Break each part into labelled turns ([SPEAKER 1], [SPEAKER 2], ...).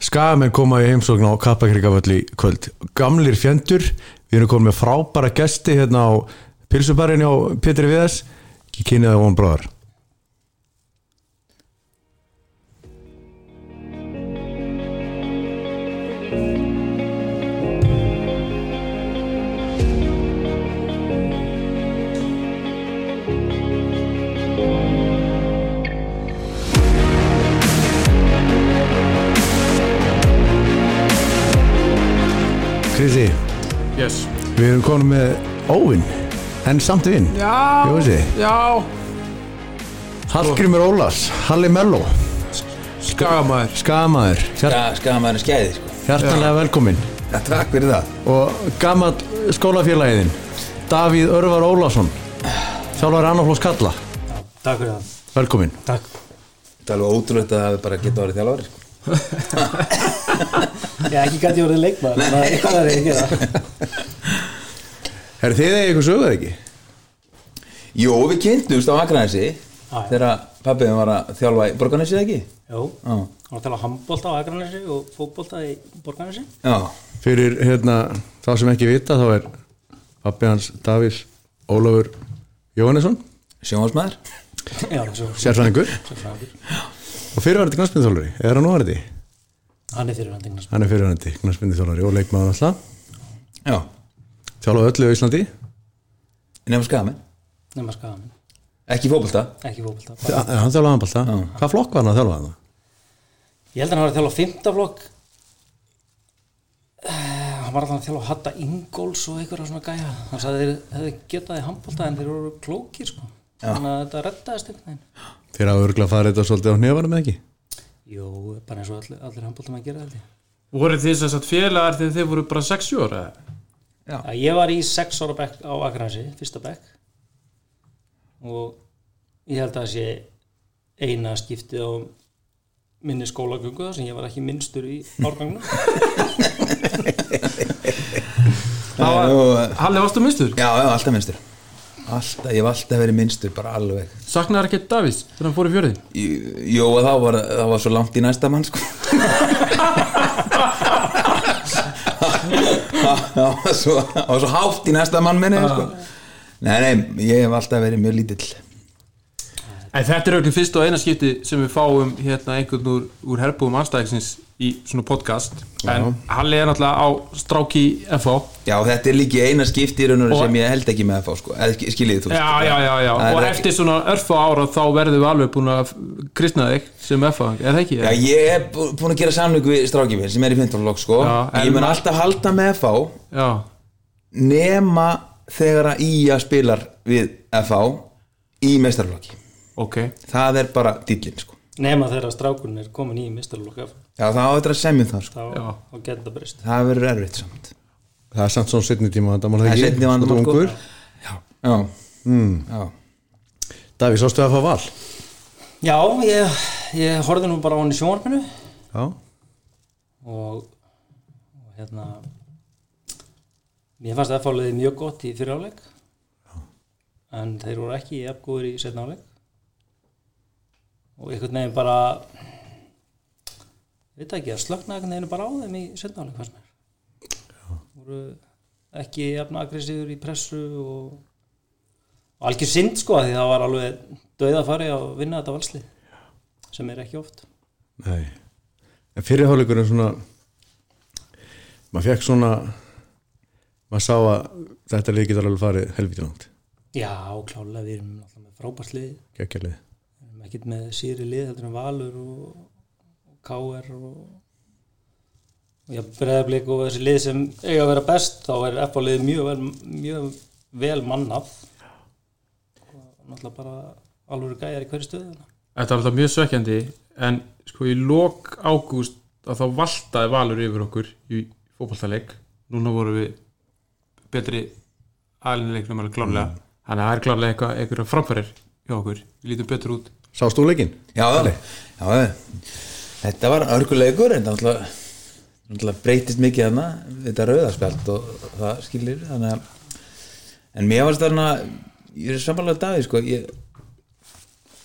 [SPEAKER 1] Skagamenn koma í heimsókn á Kappakríkaföll í kvöld Gamlir fjendur, við erum komin með frábæra gesti hérna á pilsubarinn hjá Pétri Viðas Ég kynni það von bróðar Kristi,
[SPEAKER 2] Yes
[SPEAKER 1] við erum komin með óvinn En samt vinn
[SPEAKER 2] Já
[SPEAKER 1] Jósi.
[SPEAKER 2] Já
[SPEAKER 1] Hallgrímur Ólafs, Halli Mello
[SPEAKER 2] Skagamæður
[SPEAKER 1] Skagamaður, hjart,
[SPEAKER 3] Já, skamaður er skæði sko.
[SPEAKER 1] hjartanlega velkominn
[SPEAKER 3] Já, takk fyrir það
[SPEAKER 1] og gammal skólafélagiðin Davíð Örvar Ólafsson þjálfari Annaflós Kalla
[SPEAKER 4] Takk fyrir það,
[SPEAKER 1] velkomin
[SPEAKER 4] takk
[SPEAKER 3] Það er alveg ótrúlegt að það hefur bara getað orðið þjálfari sko.
[SPEAKER 4] Ég ekki gæti orðið leikmaður, þannig að eitthvað er ég að gera
[SPEAKER 1] Er þið eitthvað söguð ekki?
[SPEAKER 3] Jó, við kynntumst á Akranesi
[SPEAKER 4] já.
[SPEAKER 3] Þegar pappiðum var að þjálfa í Borgarnesi eða ekki
[SPEAKER 4] Jó,
[SPEAKER 3] Já.
[SPEAKER 4] hann var að tala um handbólta á Akranesi og fótbólta í Borgarnesi
[SPEAKER 3] Já,
[SPEAKER 1] Fyrir hérna, þá sem ekki vita þá er pappi hans Davís Ólafur Jóhannesson
[SPEAKER 3] sjónvarsmaður
[SPEAKER 4] Já, svo
[SPEAKER 1] sérfræðingur
[SPEAKER 4] sérfræðingur.
[SPEAKER 1] og fyrirværandi knarsmyndþjólari er hann núverði?
[SPEAKER 4] Hann er fyrirvendingna
[SPEAKER 1] Hann er fyrirværandi knarsmyndþjólari og leikmaður alltaf
[SPEAKER 3] Já,
[SPEAKER 1] þjálfaði öllu í Íslandi
[SPEAKER 3] nefnum skamenn
[SPEAKER 4] nema skagan,
[SPEAKER 3] Ekki fótbolta
[SPEAKER 4] ekki fótbólta
[SPEAKER 1] Þa- hann þjálfaði handbalta hvað flokk var hann að þjálfa hann?
[SPEAKER 4] Ég held að hann var að þjálfa á fimmta flokk Eh, Hann var alltaf að þjálfa á Hatta Ingols og einhverja svona gæja Hann sagði þeir hefði getað í handbólta en þeir voru klókir sko Þannig að þetta reddaðist einhvern veginn
[SPEAKER 1] Þeir hafa örgulega farið þetta svolítið á hnefanum eða ekki?
[SPEAKER 4] Jó, bara eins og allir, allir handbólta maður gera þetta
[SPEAKER 2] Voru þið sem sagt félagar þegar þið voru bara 60 ára?
[SPEAKER 4] Já, ég var í sex ára bekk á Akranesi, fyrsta bekk og ég held að það sé eina skiptið á minni skólagöngu þar sem ég var ekki minnstur í árgangnum
[SPEAKER 2] Það var-
[SPEAKER 3] Nú,
[SPEAKER 2] Halli, varstu minnstur?
[SPEAKER 3] Já, já, alltaf minnstur alltaf, Ég hef alltaf verið minnstur, bara alveg
[SPEAKER 2] Saknaði ekki Davís þegar hann fór í fjörðin?
[SPEAKER 3] Í- Jó, og þá var, þá var svo langt í næsta mann sko. Það var svo, það var svo hátt í næsta mann minni sko. Nei, nei, ég hef alltaf verið mjög lítill
[SPEAKER 2] En þetta er auðvitað fyrst og eina skipti sem við fáum hérna einhvern úr, úr herbúðum anstæðingsins í svona podcast en Halli er náttúrulega á stráki FH
[SPEAKER 3] Já, þetta er líki eina skipti í raun og veru
[SPEAKER 2] Og-
[SPEAKER 3] sem ég held ekki með að fá sko. Eða, sk- Skiljið þú
[SPEAKER 2] Já, já, já, já,
[SPEAKER 3] Það er
[SPEAKER 2] og
[SPEAKER 3] ekki-
[SPEAKER 2] eftir svona örfa ára þá verðum við alveg búin að kristna þig sem FH, er það ekki?
[SPEAKER 3] Já, ég hef bú- búin að gera samlug við strákið minn sem er í 15 flokk sko.
[SPEAKER 2] Já, en-
[SPEAKER 3] Ég mun alltaf halda með að fá
[SPEAKER 2] já,
[SPEAKER 3] nema þegar að Ía spilar við FH í meistarflokki
[SPEAKER 2] ok
[SPEAKER 3] það er bara dýllin sko.
[SPEAKER 4] nema þegar strákurinn er komin í mistarlokka þá,
[SPEAKER 3] Já, það á þetta að semja um það sko.
[SPEAKER 2] Já.
[SPEAKER 4] þá getur það breyst
[SPEAKER 3] Það verður erfitt samt
[SPEAKER 1] Það er samt svona setni tíma vandamál
[SPEAKER 3] Það
[SPEAKER 1] ekki?
[SPEAKER 3] er setni vandamál
[SPEAKER 1] Þú ert
[SPEAKER 3] sko.
[SPEAKER 1] ungur.
[SPEAKER 3] Já, já. Mm. já.
[SPEAKER 1] Davíð, sástu að fá val?
[SPEAKER 4] Já, ég, ég horfði nú bara á hann í sjónvarpinu
[SPEAKER 1] Já
[SPEAKER 4] og, og hérna mér fannst FH liðið mjög gott í fyrir áleik en þeir voru ekki jafngóður í setna áleik og einhvern veginn bara ég veit ekki að slökna einhvern veginn bara á þeim í setna áleik fannst mér voru ekki jafn aggressífur í pressu og, og algjör sind sko því það var alveg döið að fara að vinna þetta valslið sem er ekki oft
[SPEAKER 1] Nei En fyrirháleikurinn svona maður fekk svona maður sá að þetta lið getur alveg farið helvítið langt
[SPEAKER 4] Já, klálega, við erum alltaf með frábært lið
[SPEAKER 1] geggjallið
[SPEAKER 4] við erum ekkert með síri lið heldur en Valur og, og KR og, og já, breðablik og þessi lið sem eiga að vera best þá er FH lið mjög vel, mjög vel mannaf og náttúrulega bara alvöru gæjar í hverju stöðu
[SPEAKER 2] Þetta var alltaf mjög svekkjandi en sko í lok ágúst að þá valtaði Valur yfir okkur í fótballtaleik núna voru við betri aðlinleiknum alveg klárlega Mm. þannig að það er klárlega eitthvað einhverja framfærir hjá okkur, við lítum betur út
[SPEAKER 1] Sástu úr leikinn?
[SPEAKER 3] Já, já, já. Þetta var örgulegur en það náttúrulega- náttúrulega breytist mikið þarna við þetta rauðarspjald og það skilir þannig að en mér varst þarna ég er samanlega dagi sko ég,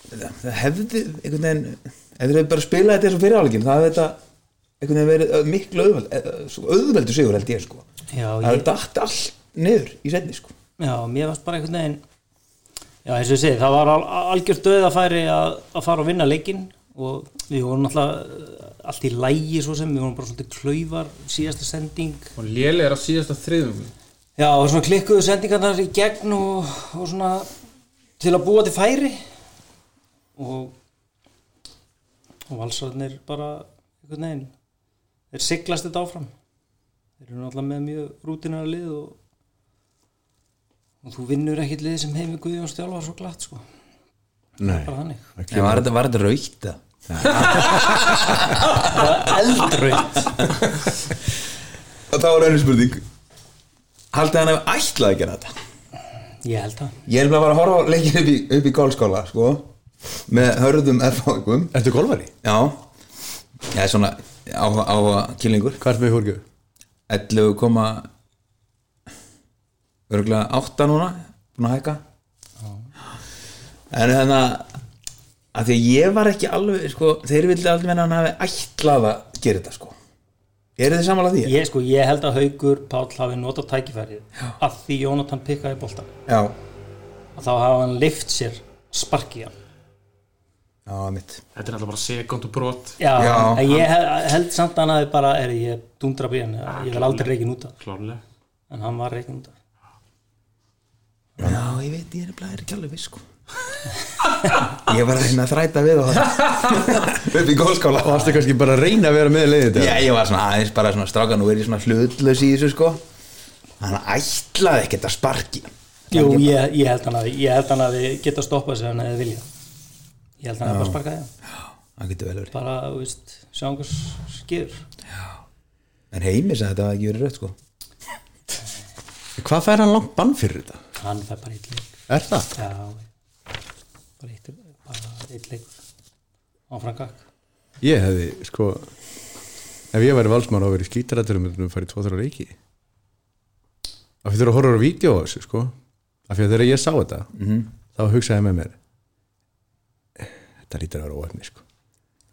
[SPEAKER 3] það hefði einhvern veginn ef þeir hefði bara spilað þetta eins og fyrirháleikin það hefði þetta einhvern veginn verið ö, miklu auðveld ö, svo auðveldu sigur held ég sko
[SPEAKER 4] já,
[SPEAKER 3] það
[SPEAKER 4] ég,
[SPEAKER 3] er dætt allt niður í setni sko
[SPEAKER 4] já, mér varst bara einhvern veginn já, eins og ég segi, það var al algjör döð að færi að, að fara og vinna leikinn og við vorum náttúrulega eh, allt í lægi svo sem, við vorum bara svolítið klaufar síðasta sending
[SPEAKER 2] og lélega er að síðasta þriðum
[SPEAKER 4] Já, og svona klikkuðu sendingarnar í gegn og, og svona til að búa til færi og og valsarnir bara einhvern veginn, þeir siglast þetta áfram þeir eru náttúrulega með mjög rútinar lið og, og þú vinnur ekkit lið sem heimi Guðjón Stjálfar svo glatt sko,
[SPEAKER 1] Nei,
[SPEAKER 4] bara þannig
[SPEAKER 3] en var þetta, var þetta raukt það?
[SPEAKER 4] Eldraut
[SPEAKER 3] og þá er önnur spurning haldið hann hefur ætlað að gera þetta
[SPEAKER 4] Ég held það
[SPEAKER 3] ég er bara að fara að horfa á leikin upp í, upp í golfskóla sko með hörðum erfáðingum
[SPEAKER 1] Ertu golfari?
[SPEAKER 3] já ég er svona áhuga, áhuga kýlingur
[SPEAKER 1] Hvað er með hórgjöf?
[SPEAKER 3] 11 koma örgulega 8 núna búin að hækka en þannig að að því að ég var ekki alveg sko, þeir vildi aldrei menna að hann hafi ætlað að gera þetta sko eru þið samanlega því?
[SPEAKER 4] Ég sko, ég held að Haugur Páll hafi notað tækifærið að því Jónatan pikkaði boltan
[SPEAKER 3] já,
[SPEAKER 4] að þá hafa hann lift sér sparkið hann
[SPEAKER 3] já, mitt
[SPEAKER 2] þetta er alltaf bara sekund og brot
[SPEAKER 4] Já,
[SPEAKER 3] Já.
[SPEAKER 4] en ég hel- held samt að hann hafi bara, er ég dundra bíðan, ég vil aldrei reikin út af,
[SPEAKER 2] klárlega
[SPEAKER 4] en hann var reikin út af.
[SPEAKER 3] já, ég veit, ég er bara ekki alveg viss sko ég var að reyna að þræta við og upp í golfskóla
[SPEAKER 1] Varstu kannski bara að reyna að vera með leiðið þetta?
[SPEAKER 3] Já, ég var svona aðeins bara svona stráka nú er ég svona hlutlaus í þessu sko hann ætlaði ekkert að sparki
[SPEAKER 4] Jú, ég, ég held hann að ég held hann að við geta stoppað sér hann eða vilja ég held hann að bara sparkaði hann
[SPEAKER 3] hann getur vel verið
[SPEAKER 4] bara, þú veist, sjá einhvers skýr
[SPEAKER 3] en heimi sagði að þetta hafi ekki verið rött sko
[SPEAKER 1] Hvað fær hann langt bann fyrir þetta?
[SPEAKER 4] hann fær bara eitt leik
[SPEAKER 1] Er það?
[SPEAKER 4] já, bara eitt, bara eitt leik áfram gakk
[SPEAKER 1] Ég hefði, sko Ef ég væri valsmann á að vera í skítarættur um þetta farið tvo þrjá reiki Af því þú eru að horfa á vídeo á þessu, sko Af því að þegar ég sá þetta þá hugsaði ég með mér Þetta lítur að vera óefni, sko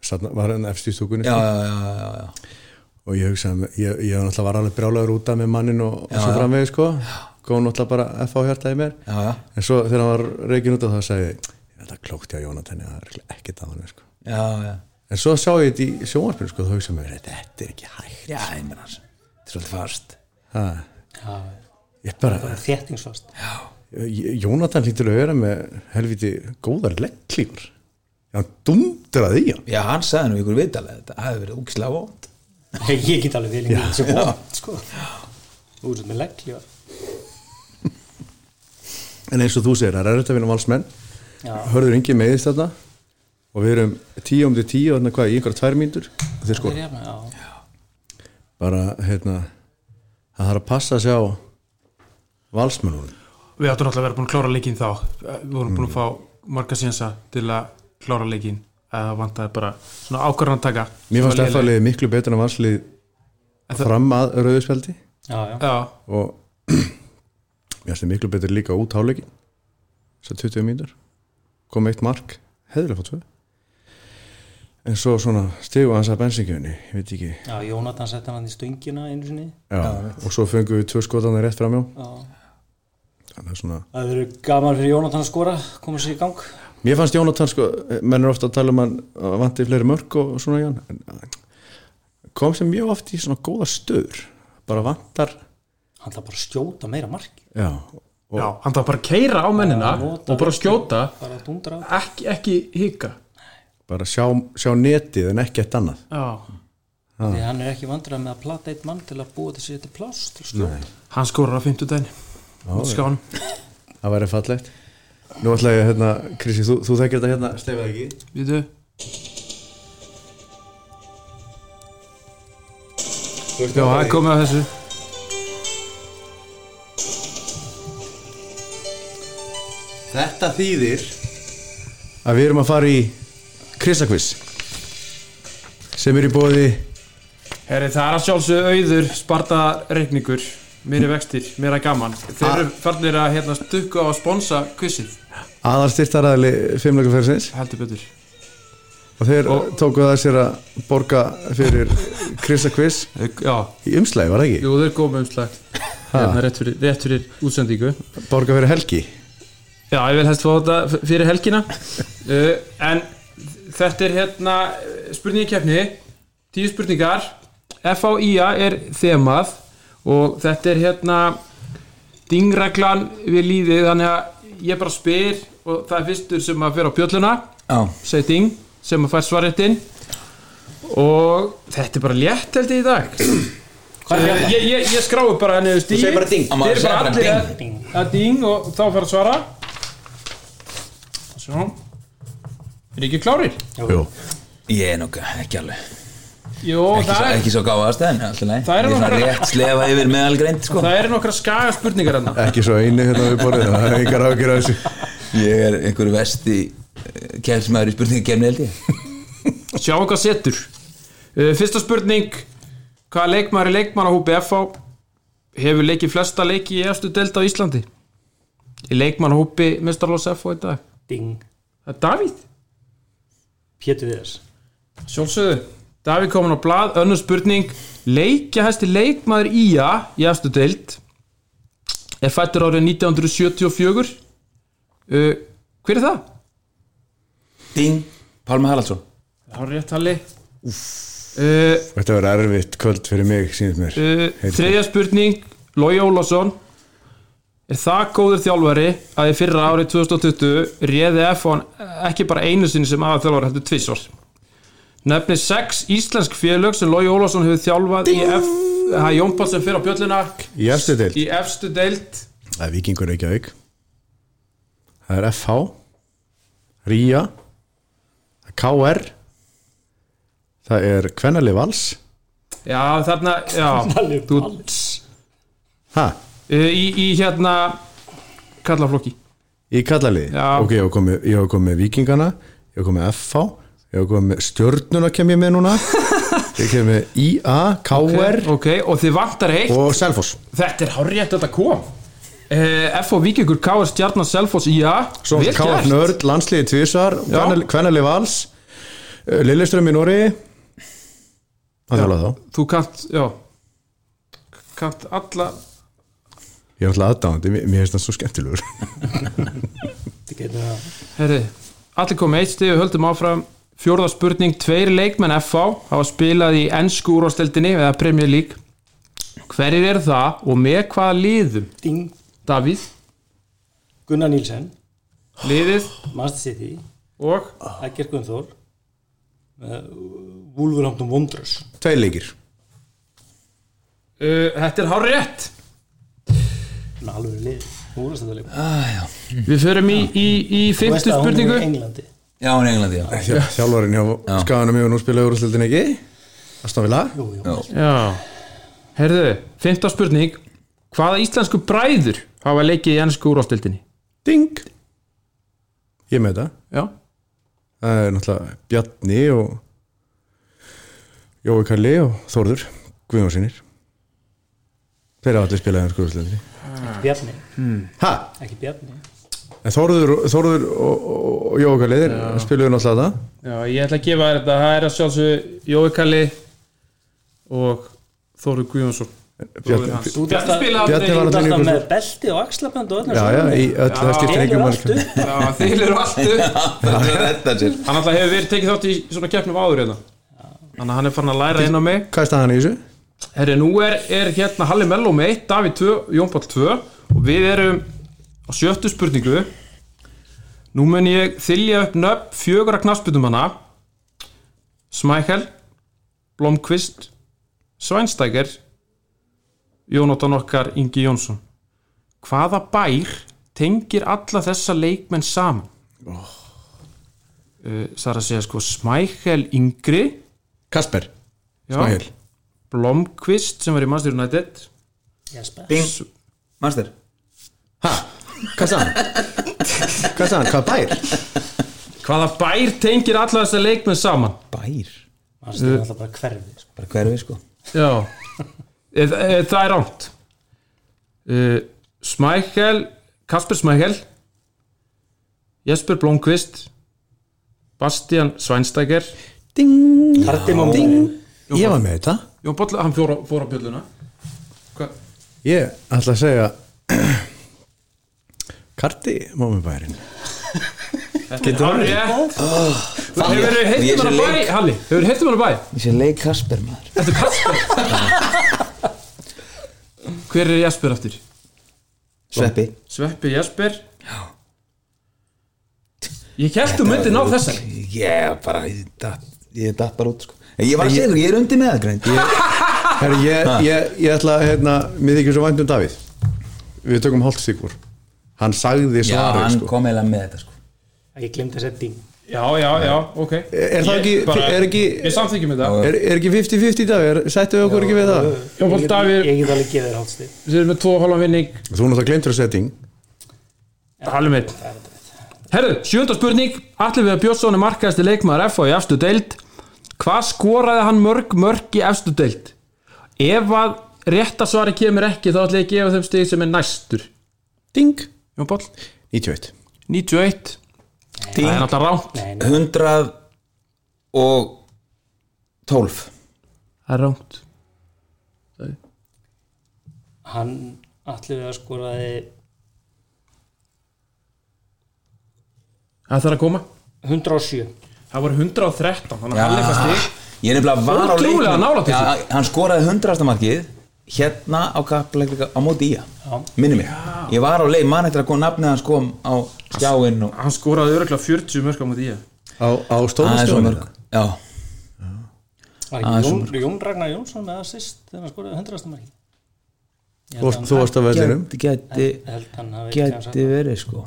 [SPEAKER 1] Sann var hann efst í stúkunni
[SPEAKER 3] já,
[SPEAKER 1] sko.
[SPEAKER 3] já, já, já, já.
[SPEAKER 1] og ég hugsaði, með- ég, ég var náttúrulega var alveg brjálagur út af með mannin og, og svo framvegi, sko góð náttúrulega bara F á hjartaði mér
[SPEAKER 3] Já, já.
[SPEAKER 1] en svo þegar hann var reikin út af það sagði ég, þetta klókti á Jónatan það er örugglega ekkert að hann, sko
[SPEAKER 3] já, já.
[SPEAKER 1] En svo sá ég þetta í sjónvarpinu sko, þá hugsaði mér, þetta er ekki hægt.
[SPEAKER 3] já ég meina hans þetta er svolítið fast
[SPEAKER 1] Ha,
[SPEAKER 4] já,
[SPEAKER 1] ég bara,
[SPEAKER 4] bara þéttingsvast
[SPEAKER 1] J- Jónatan hlýtur að vera með helviti góðar legglífur. Hann dumdraði í hann.
[SPEAKER 3] já, hann sagði nú ykkur vitalega þetta hafi verið ógislega vond
[SPEAKER 4] ég get alveg vilja mér sem vond, sko þú veist, með legg, já
[SPEAKER 1] En eins og þú segir, það er þetta að vinna valsmenn.
[SPEAKER 4] Já.
[SPEAKER 1] Hörður yngi meðist þarna og við erum tíu um til tíu, þarna hvað, í einhverja tvær mínútur og þeir sko,
[SPEAKER 4] Þeir eru, já.
[SPEAKER 1] bara, hérna, það þarf að passa að sjá valsmennunum.
[SPEAKER 2] við áttum alltaf að vera búin að klára leikinn þá við vorum búin að fá marga sénsa til að klára leikinn að það vantaði bara svona ákvarðan að taka
[SPEAKER 1] Mér fannst
[SPEAKER 2] Svo léleg.
[SPEAKER 1] eftirlega miklu betur en valslið
[SPEAKER 2] En það-
[SPEAKER 1] fram að rauðspjaldi.
[SPEAKER 4] Já, já.
[SPEAKER 2] já,
[SPEAKER 1] og mér finnst þið miklu betur líka út háleikin þessar 20 mínútur kom eitt mark, hefðilega fótt tvö en svo svona stegu hans að bensingjöfni, ég veit ekki
[SPEAKER 4] já, Jónatan sett hann hann í stöngina einu sinni
[SPEAKER 1] já, og svo fengum við tvö skotanir rétt framjá
[SPEAKER 4] já.
[SPEAKER 1] þannig að svona,
[SPEAKER 4] Það eru gaman fyrir Jónatan að skora, koma sér í gang.
[SPEAKER 1] mér fannst Jónatan sko, menn er ofta að tala um hann að vanti fleiri mörg og svona í hann en eh, kom sem mjög oft í svona góða stöður, bara vantar
[SPEAKER 4] Hann þarf bara að skjóta meira marki,
[SPEAKER 1] já, og
[SPEAKER 2] já, hann þarf bara að keira á mennina
[SPEAKER 4] Já, nota
[SPEAKER 2] og bara skjóta
[SPEAKER 4] bara að dundra á.
[SPEAKER 2] ekki, ekki hika
[SPEAKER 1] bara sjá, sjá netið en ekkert annað
[SPEAKER 2] já,
[SPEAKER 4] Því hann er ekki vandræð með að plata eitt mann til að búa til sér þetta pláss til skjóta.
[SPEAKER 2] hann skorar á 50 daginn skáðan,
[SPEAKER 1] Það væri fallegt Nú ætla ég hérna, Kristi, þú, þú þekkir þetta hérna Stefið ekki
[SPEAKER 2] við þau já, hann komið að þessu
[SPEAKER 1] Þetta þýðir Að við erum að fara í Krisakviss Sem er í bóði
[SPEAKER 2] Herri, það er að sjálfsögðu auður, sparta reikningur, meiri vextir, meira gaman. Þeir eru farnir að hérna, stukka á að sponsa kvissið,
[SPEAKER 1] aðarstyrtaræðli fimmleikaferðsins
[SPEAKER 2] heldur betur.
[SPEAKER 1] og þeir tóku það sér að borga fyrir Krista Quiz
[SPEAKER 2] já,
[SPEAKER 1] í umslæði, var það ekki?
[SPEAKER 2] jú, þeir góma umslag hérna, rétt, fyrir, rétt fyrir útsendingu
[SPEAKER 1] Borga fyrir helgi
[SPEAKER 2] já, ég vil helst fá þetta f- fyrir helgina uh, en þetta er hérna spurningakefni tíu spurningar FAIA er þemað og þetta er hérna dingreglan við lífið þannig að ég bara spyr og það er fyrstur sem að fyrir á bjölluna
[SPEAKER 3] Já,
[SPEAKER 2] segir ding sem að fær svarréttin og þetta er bara létt held ég í dag ég, ég, ég, ég skrái bara henni Þú
[SPEAKER 5] segir bara ding.
[SPEAKER 2] Þeir
[SPEAKER 3] Maður
[SPEAKER 2] eru
[SPEAKER 3] segir
[SPEAKER 2] bara
[SPEAKER 3] bara
[SPEAKER 2] allir að- að ding og þá fær að svara Sjá Er ekki klárir?
[SPEAKER 1] Jú.
[SPEAKER 3] ég er nokkuð, ekki alveg
[SPEAKER 2] Jó,
[SPEAKER 3] ekki, svo,
[SPEAKER 2] það,
[SPEAKER 3] ekki svo gáðast en alltaf
[SPEAKER 2] Það
[SPEAKER 3] leið Það
[SPEAKER 2] eru
[SPEAKER 3] er svona
[SPEAKER 2] nokkrar-
[SPEAKER 3] rétt slefa yfir meðalgreind sko.
[SPEAKER 2] það eru nokkra skaga spurningar hérna
[SPEAKER 1] Ekki svo einu hérna við borðið Það er engar ágjur af þessu
[SPEAKER 3] Ég er einhver vesti kemsmaður í spurningu kemni held ég
[SPEAKER 2] Sjáum hvað setur Uh, Fyrsta spurning Hvaða leikmaður í leikmannahúpi FH hefur leikið flesta leiki í efstu deild á Íslandi? Í leikmannahúpi Mestarlós FH í dag
[SPEAKER 4] Ding.
[SPEAKER 2] Það er Davíð,
[SPEAKER 4] Pétur Viðars.
[SPEAKER 2] sjálfsögðu Davíð komin á blað, önnur spurning Leikja hæsti leikmaður Ía í efstu deild er fættur árið 1974 uh, Hver er það?
[SPEAKER 3] Ding, Pálmi Haraldsson
[SPEAKER 2] Það er rétt halli uh,
[SPEAKER 1] Þetta var erfitt kvöld fyrir mig, sínst mér
[SPEAKER 2] Uh,
[SPEAKER 1] Heitir
[SPEAKER 2] þriðja spurning Lói Ólásson er það góður þjálfari að í fyrra árið 2020 réði F hann ekki bara einu sinni sem aða þjálfari heldur tvissvar nefni sex íslensk félög sem Lói Ólásson hefur þjálfað í F það er Jón Pál sem fyrir á bjöllina
[SPEAKER 1] Í efstu deild
[SPEAKER 2] í efstu deild
[SPEAKER 1] Það er Víkingur Reykjavík Það er FH Ría það er KR Það er Kvennali Vals
[SPEAKER 2] já þarna já,
[SPEAKER 4] Alveg
[SPEAKER 2] Þú-
[SPEAKER 4] vals.
[SPEAKER 1] Ha,
[SPEAKER 2] uh, í, í hérna kallaflokki
[SPEAKER 1] í kallaliði
[SPEAKER 2] Já.
[SPEAKER 1] Ok, ég hef komið, ég hef komið Víkingana Ég hef komið FH Ég hef komið Stjörnuna kem ég með núna Ég kem með IA, KR
[SPEAKER 2] ok, og þið vantar eitt
[SPEAKER 1] og Selfoss
[SPEAKER 2] þetta er hárétt þetta kom uh, F og Víkingur K.R. Stjarnar Selfoss IA
[SPEAKER 1] Svo
[SPEAKER 2] Vel
[SPEAKER 1] KF
[SPEAKER 2] gert.
[SPEAKER 1] Nörd, landsliði Tvísar Kvennali Vals Lilleström í Nóri Það þjóla þá
[SPEAKER 2] þú kannt, já kannt alla
[SPEAKER 1] Ég er alltaf aðdáðandi, mér mér finnst það svo skemmtilegur
[SPEAKER 4] Þetta getur að
[SPEAKER 2] herri, allir komið eitt stig við höldum áfram, fjórða spurning tveir leikmenn FH hafa spilað í ennsku úrvasteldinni eða Premier League hverjir er það og með hvaða liðum
[SPEAKER 4] Ding.
[SPEAKER 2] Davíð,
[SPEAKER 4] Gunnar Nílsen,
[SPEAKER 2] liðið
[SPEAKER 4] Master City,
[SPEAKER 2] og
[SPEAKER 4] Ægir Gunnþór, uh, Wolverhampton Wanderers.
[SPEAKER 1] Tvei leikir
[SPEAKER 2] uh, þetta er hár rétt
[SPEAKER 4] Þannig að alveg lið. Þú voru að stæða leik.
[SPEAKER 2] við förum í, í, í fymtu spurningu
[SPEAKER 4] Í Englandi.
[SPEAKER 3] Já, hún er Englandi, já
[SPEAKER 1] Þjálfarinn hjá skaganum ég og nú spilaði úrústöldin ekki Aston Villa
[SPEAKER 4] Jú, jú.
[SPEAKER 2] já, herðu fymta spurning, hvaða íslensku bræður hafa leikið í ennsku úrvasteldinni
[SPEAKER 1] Ding Ég er með þetta
[SPEAKER 2] já,
[SPEAKER 1] Það er náttúrulega Bjarni og Jói Kalli og Þórður Guðjónsinir Þeir hafa allir spilaði hans úrústöldinni
[SPEAKER 4] Bjarni.
[SPEAKER 1] Ha?
[SPEAKER 4] Ekki Bjarni.
[SPEAKER 1] En Þórður, Þórður og, og, og Jói Kalli þeir spiluðu náttúrulega það
[SPEAKER 2] Já, ég ætla að gefa þér þetta. Það er að sjálfsög Jói Kalli og Þóru Guðjónsson.
[SPEAKER 1] Bjarni-
[SPEAKER 4] Þú ert alltaf-
[SPEAKER 2] spilaði
[SPEAKER 1] Bjarni
[SPEAKER 2] aldrei.
[SPEAKER 1] var
[SPEAKER 4] Þú ert alltaf
[SPEAKER 1] Gunnar-
[SPEAKER 4] með belti og axlabönd og öllum
[SPEAKER 1] Já, já, í öll það skiptir
[SPEAKER 4] Þeir
[SPEAKER 1] engum
[SPEAKER 4] eru
[SPEAKER 1] mann
[SPEAKER 4] allt upp.
[SPEAKER 2] Já, þeir eru alltaf.
[SPEAKER 3] Það er þetta sér
[SPEAKER 2] Hann alltaf hefur verið tekið þátt í svona keppnum áður hérna. Þannig að hann er farin að læra inn á mig.
[SPEAKER 1] Hvað er staðan í þessu?
[SPEAKER 2] Herri, nú er, er hérna Halli Melló með 1, Davíð 2, Jón Páll 2 og við erum á sjöttu spurningu Nú mun ég þylja upp nöfn fjögur að knassbytumanna Smækel Blomqvist Svænstækir Jónatan okkar Ingi Jónsson Hvaða bær tengir alla þessa leikmenn saman? Oh. Sara segja sko Smækel yngri
[SPEAKER 1] Kasper,
[SPEAKER 2] Já.
[SPEAKER 1] Smæl
[SPEAKER 2] Blomqvist sem var í Manchester United
[SPEAKER 4] Jesper.
[SPEAKER 3] Ding, master
[SPEAKER 1] Ha? Hvað sagðan? Hvað sagðan? Hvað bær?
[SPEAKER 2] Hvaða bær tengir alla þessa leikmenn saman?
[SPEAKER 3] Bær
[SPEAKER 4] Það er alltaf bara hverfið. sko.
[SPEAKER 3] Bara hverfi sko
[SPEAKER 2] Já e, e, Það er rámt e, Smækel Kasper Smækel Jesper Blomqvist Bastian Svænstæker
[SPEAKER 1] Ding
[SPEAKER 4] Kardimum
[SPEAKER 1] Ég var með þetta
[SPEAKER 2] Jón Bolla, hann fór á, fór á bjölluna Hva?
[SPEAKER 1] Ég ætla að segja Karti Mómibærin
[SPEAKER 2] Getur hann Ah. rétt
[SPEAKER 3] Fann ég.
[SPEAKER 2] Hefur þið heitum hann
[SPEAKER 3] Og ég sé
[SPEAKER 2] að bæ,
[SPEAKER 3] leik-
[SPEAKER 2] Halli? Hefur þið heitum hann að bæ?
[SPEAKER 3] Ég sé leik Kasper maður
[SPEAKER 2] Þetta er Kasper Hver er Jasper aftur?
[SPEAKER 3] Sveppi
[SPEAKER 2] Sveppi Jasper Já Ég held þú myndi ná þessari
[SPEAKER 3] Ég bara, ég datt, ég datt bara út sko. En Ég var að segja ykkur, ég er undir með það greint ég,
[SPEAKER 1] Herri, ég, ég, ég ætla að hérna, mér þykir svo vænt um Davíð Við tökum Holtsíkur Hann sagði
[SPEAKER 3] Já,
[SPEAKER 1] svarið
[SPEAKER 3] hann
[SPEAKER 1] sko.
[SPEAKER 3] kom eiginlega með þetta sko.
[SPEAKER 4] Ég glemt að segja ding
[SPEAKER 2] Já, já, já, ok
[SPEAKER 1] Er það
[SPEAKER 2] Ég
[SPEAKER 1] ekki- er ekki-
[SPEAKER 2] Við samþykjum þetta
[SPEAKER 1] er, er ekki 50-50 í dag? Er, settum við okkur ekki við það?
[SPEAKER 2] Jón Páll
[SPEAKER 4] Ég get-
[SPEAKER 2] Davíð.
[SPEAKER 4] Ég get alveg gefið þér hálfstig
[SPEAKER 2] Við erum með tvo hálfan vinning
[SPEAKER 1] Þú náttúrulega glemtur að setting
[SPEAKER 2] Halvum einn Herru, sjönda spurning Allir við að Björnsson er markaðasti leikmaður FH í efstu deild Hvað skoraði hann mörg mörg í efstu deild? Ef að rétta svari kemur ekki þá ætla ég að gefa þeim stig sem er næstur
[SPEAKER 1] Ding
[SPEAKER 2] Jón Páll
[SPEAKER 1] 91
[SPEAKER 2] 91 Það er náttúrulega rámt
[SPEAKER 4] Nei, nei,
[SPEAKER 3] 100 og 12
[SPEAKER 2] Það er rámt
[SPEAKER 4] hann allir við að skoraði
[SPEAKER 2] Það þarf að koma
[SPEAKER 4] 107
[SPEAKER 2] Það voru 113 Þannig að hann leika stig
[SPEAKER 3] Ég er nefnilega var á
[SPEAKER 2] Ótrúlega nálægt þessu.
[SPEAKER 3] Já, Hann skoraði 100. markið Hérna á kappleika á móti í
[SPEAKER 4] Já.
[SPEAKER 3] Minni mig Ég var á leik, mann eftir að koma nafnið hans kom á skjáinn og
[SPEAKER 2] Hann skoraði öruglega 40 mörg á múti í
[SPEAKER 1] Á, á stóra
[SPEAKER 3] aðeins og
[SPEAKER 1] skjáinu?
[SPEAKER 3] mörg Já,
[SPEAKER 4] Var
[SPEAKER 3] Ah,
[SPEAKER 4] ekki
[SPEAKER 1] um
[SPEAKER 3] svo
[SPEAKER 4] Jón, Jón Ragnar Jónsson með assist þegar hann skoraði 100. marki
[SPEAKER 1] Þú
[SPEAKER 4] Ég held
[SPEAKER 1] varst-
[SPEAKER 4] að
[SPEAKER 1] Þú varst að vellinum
[SPEAKER 3] gæti, gæti,
[SPEAKER 4] hann- held hann hafi ekki hann sagt
[SPEAKER 3] gæti verið sko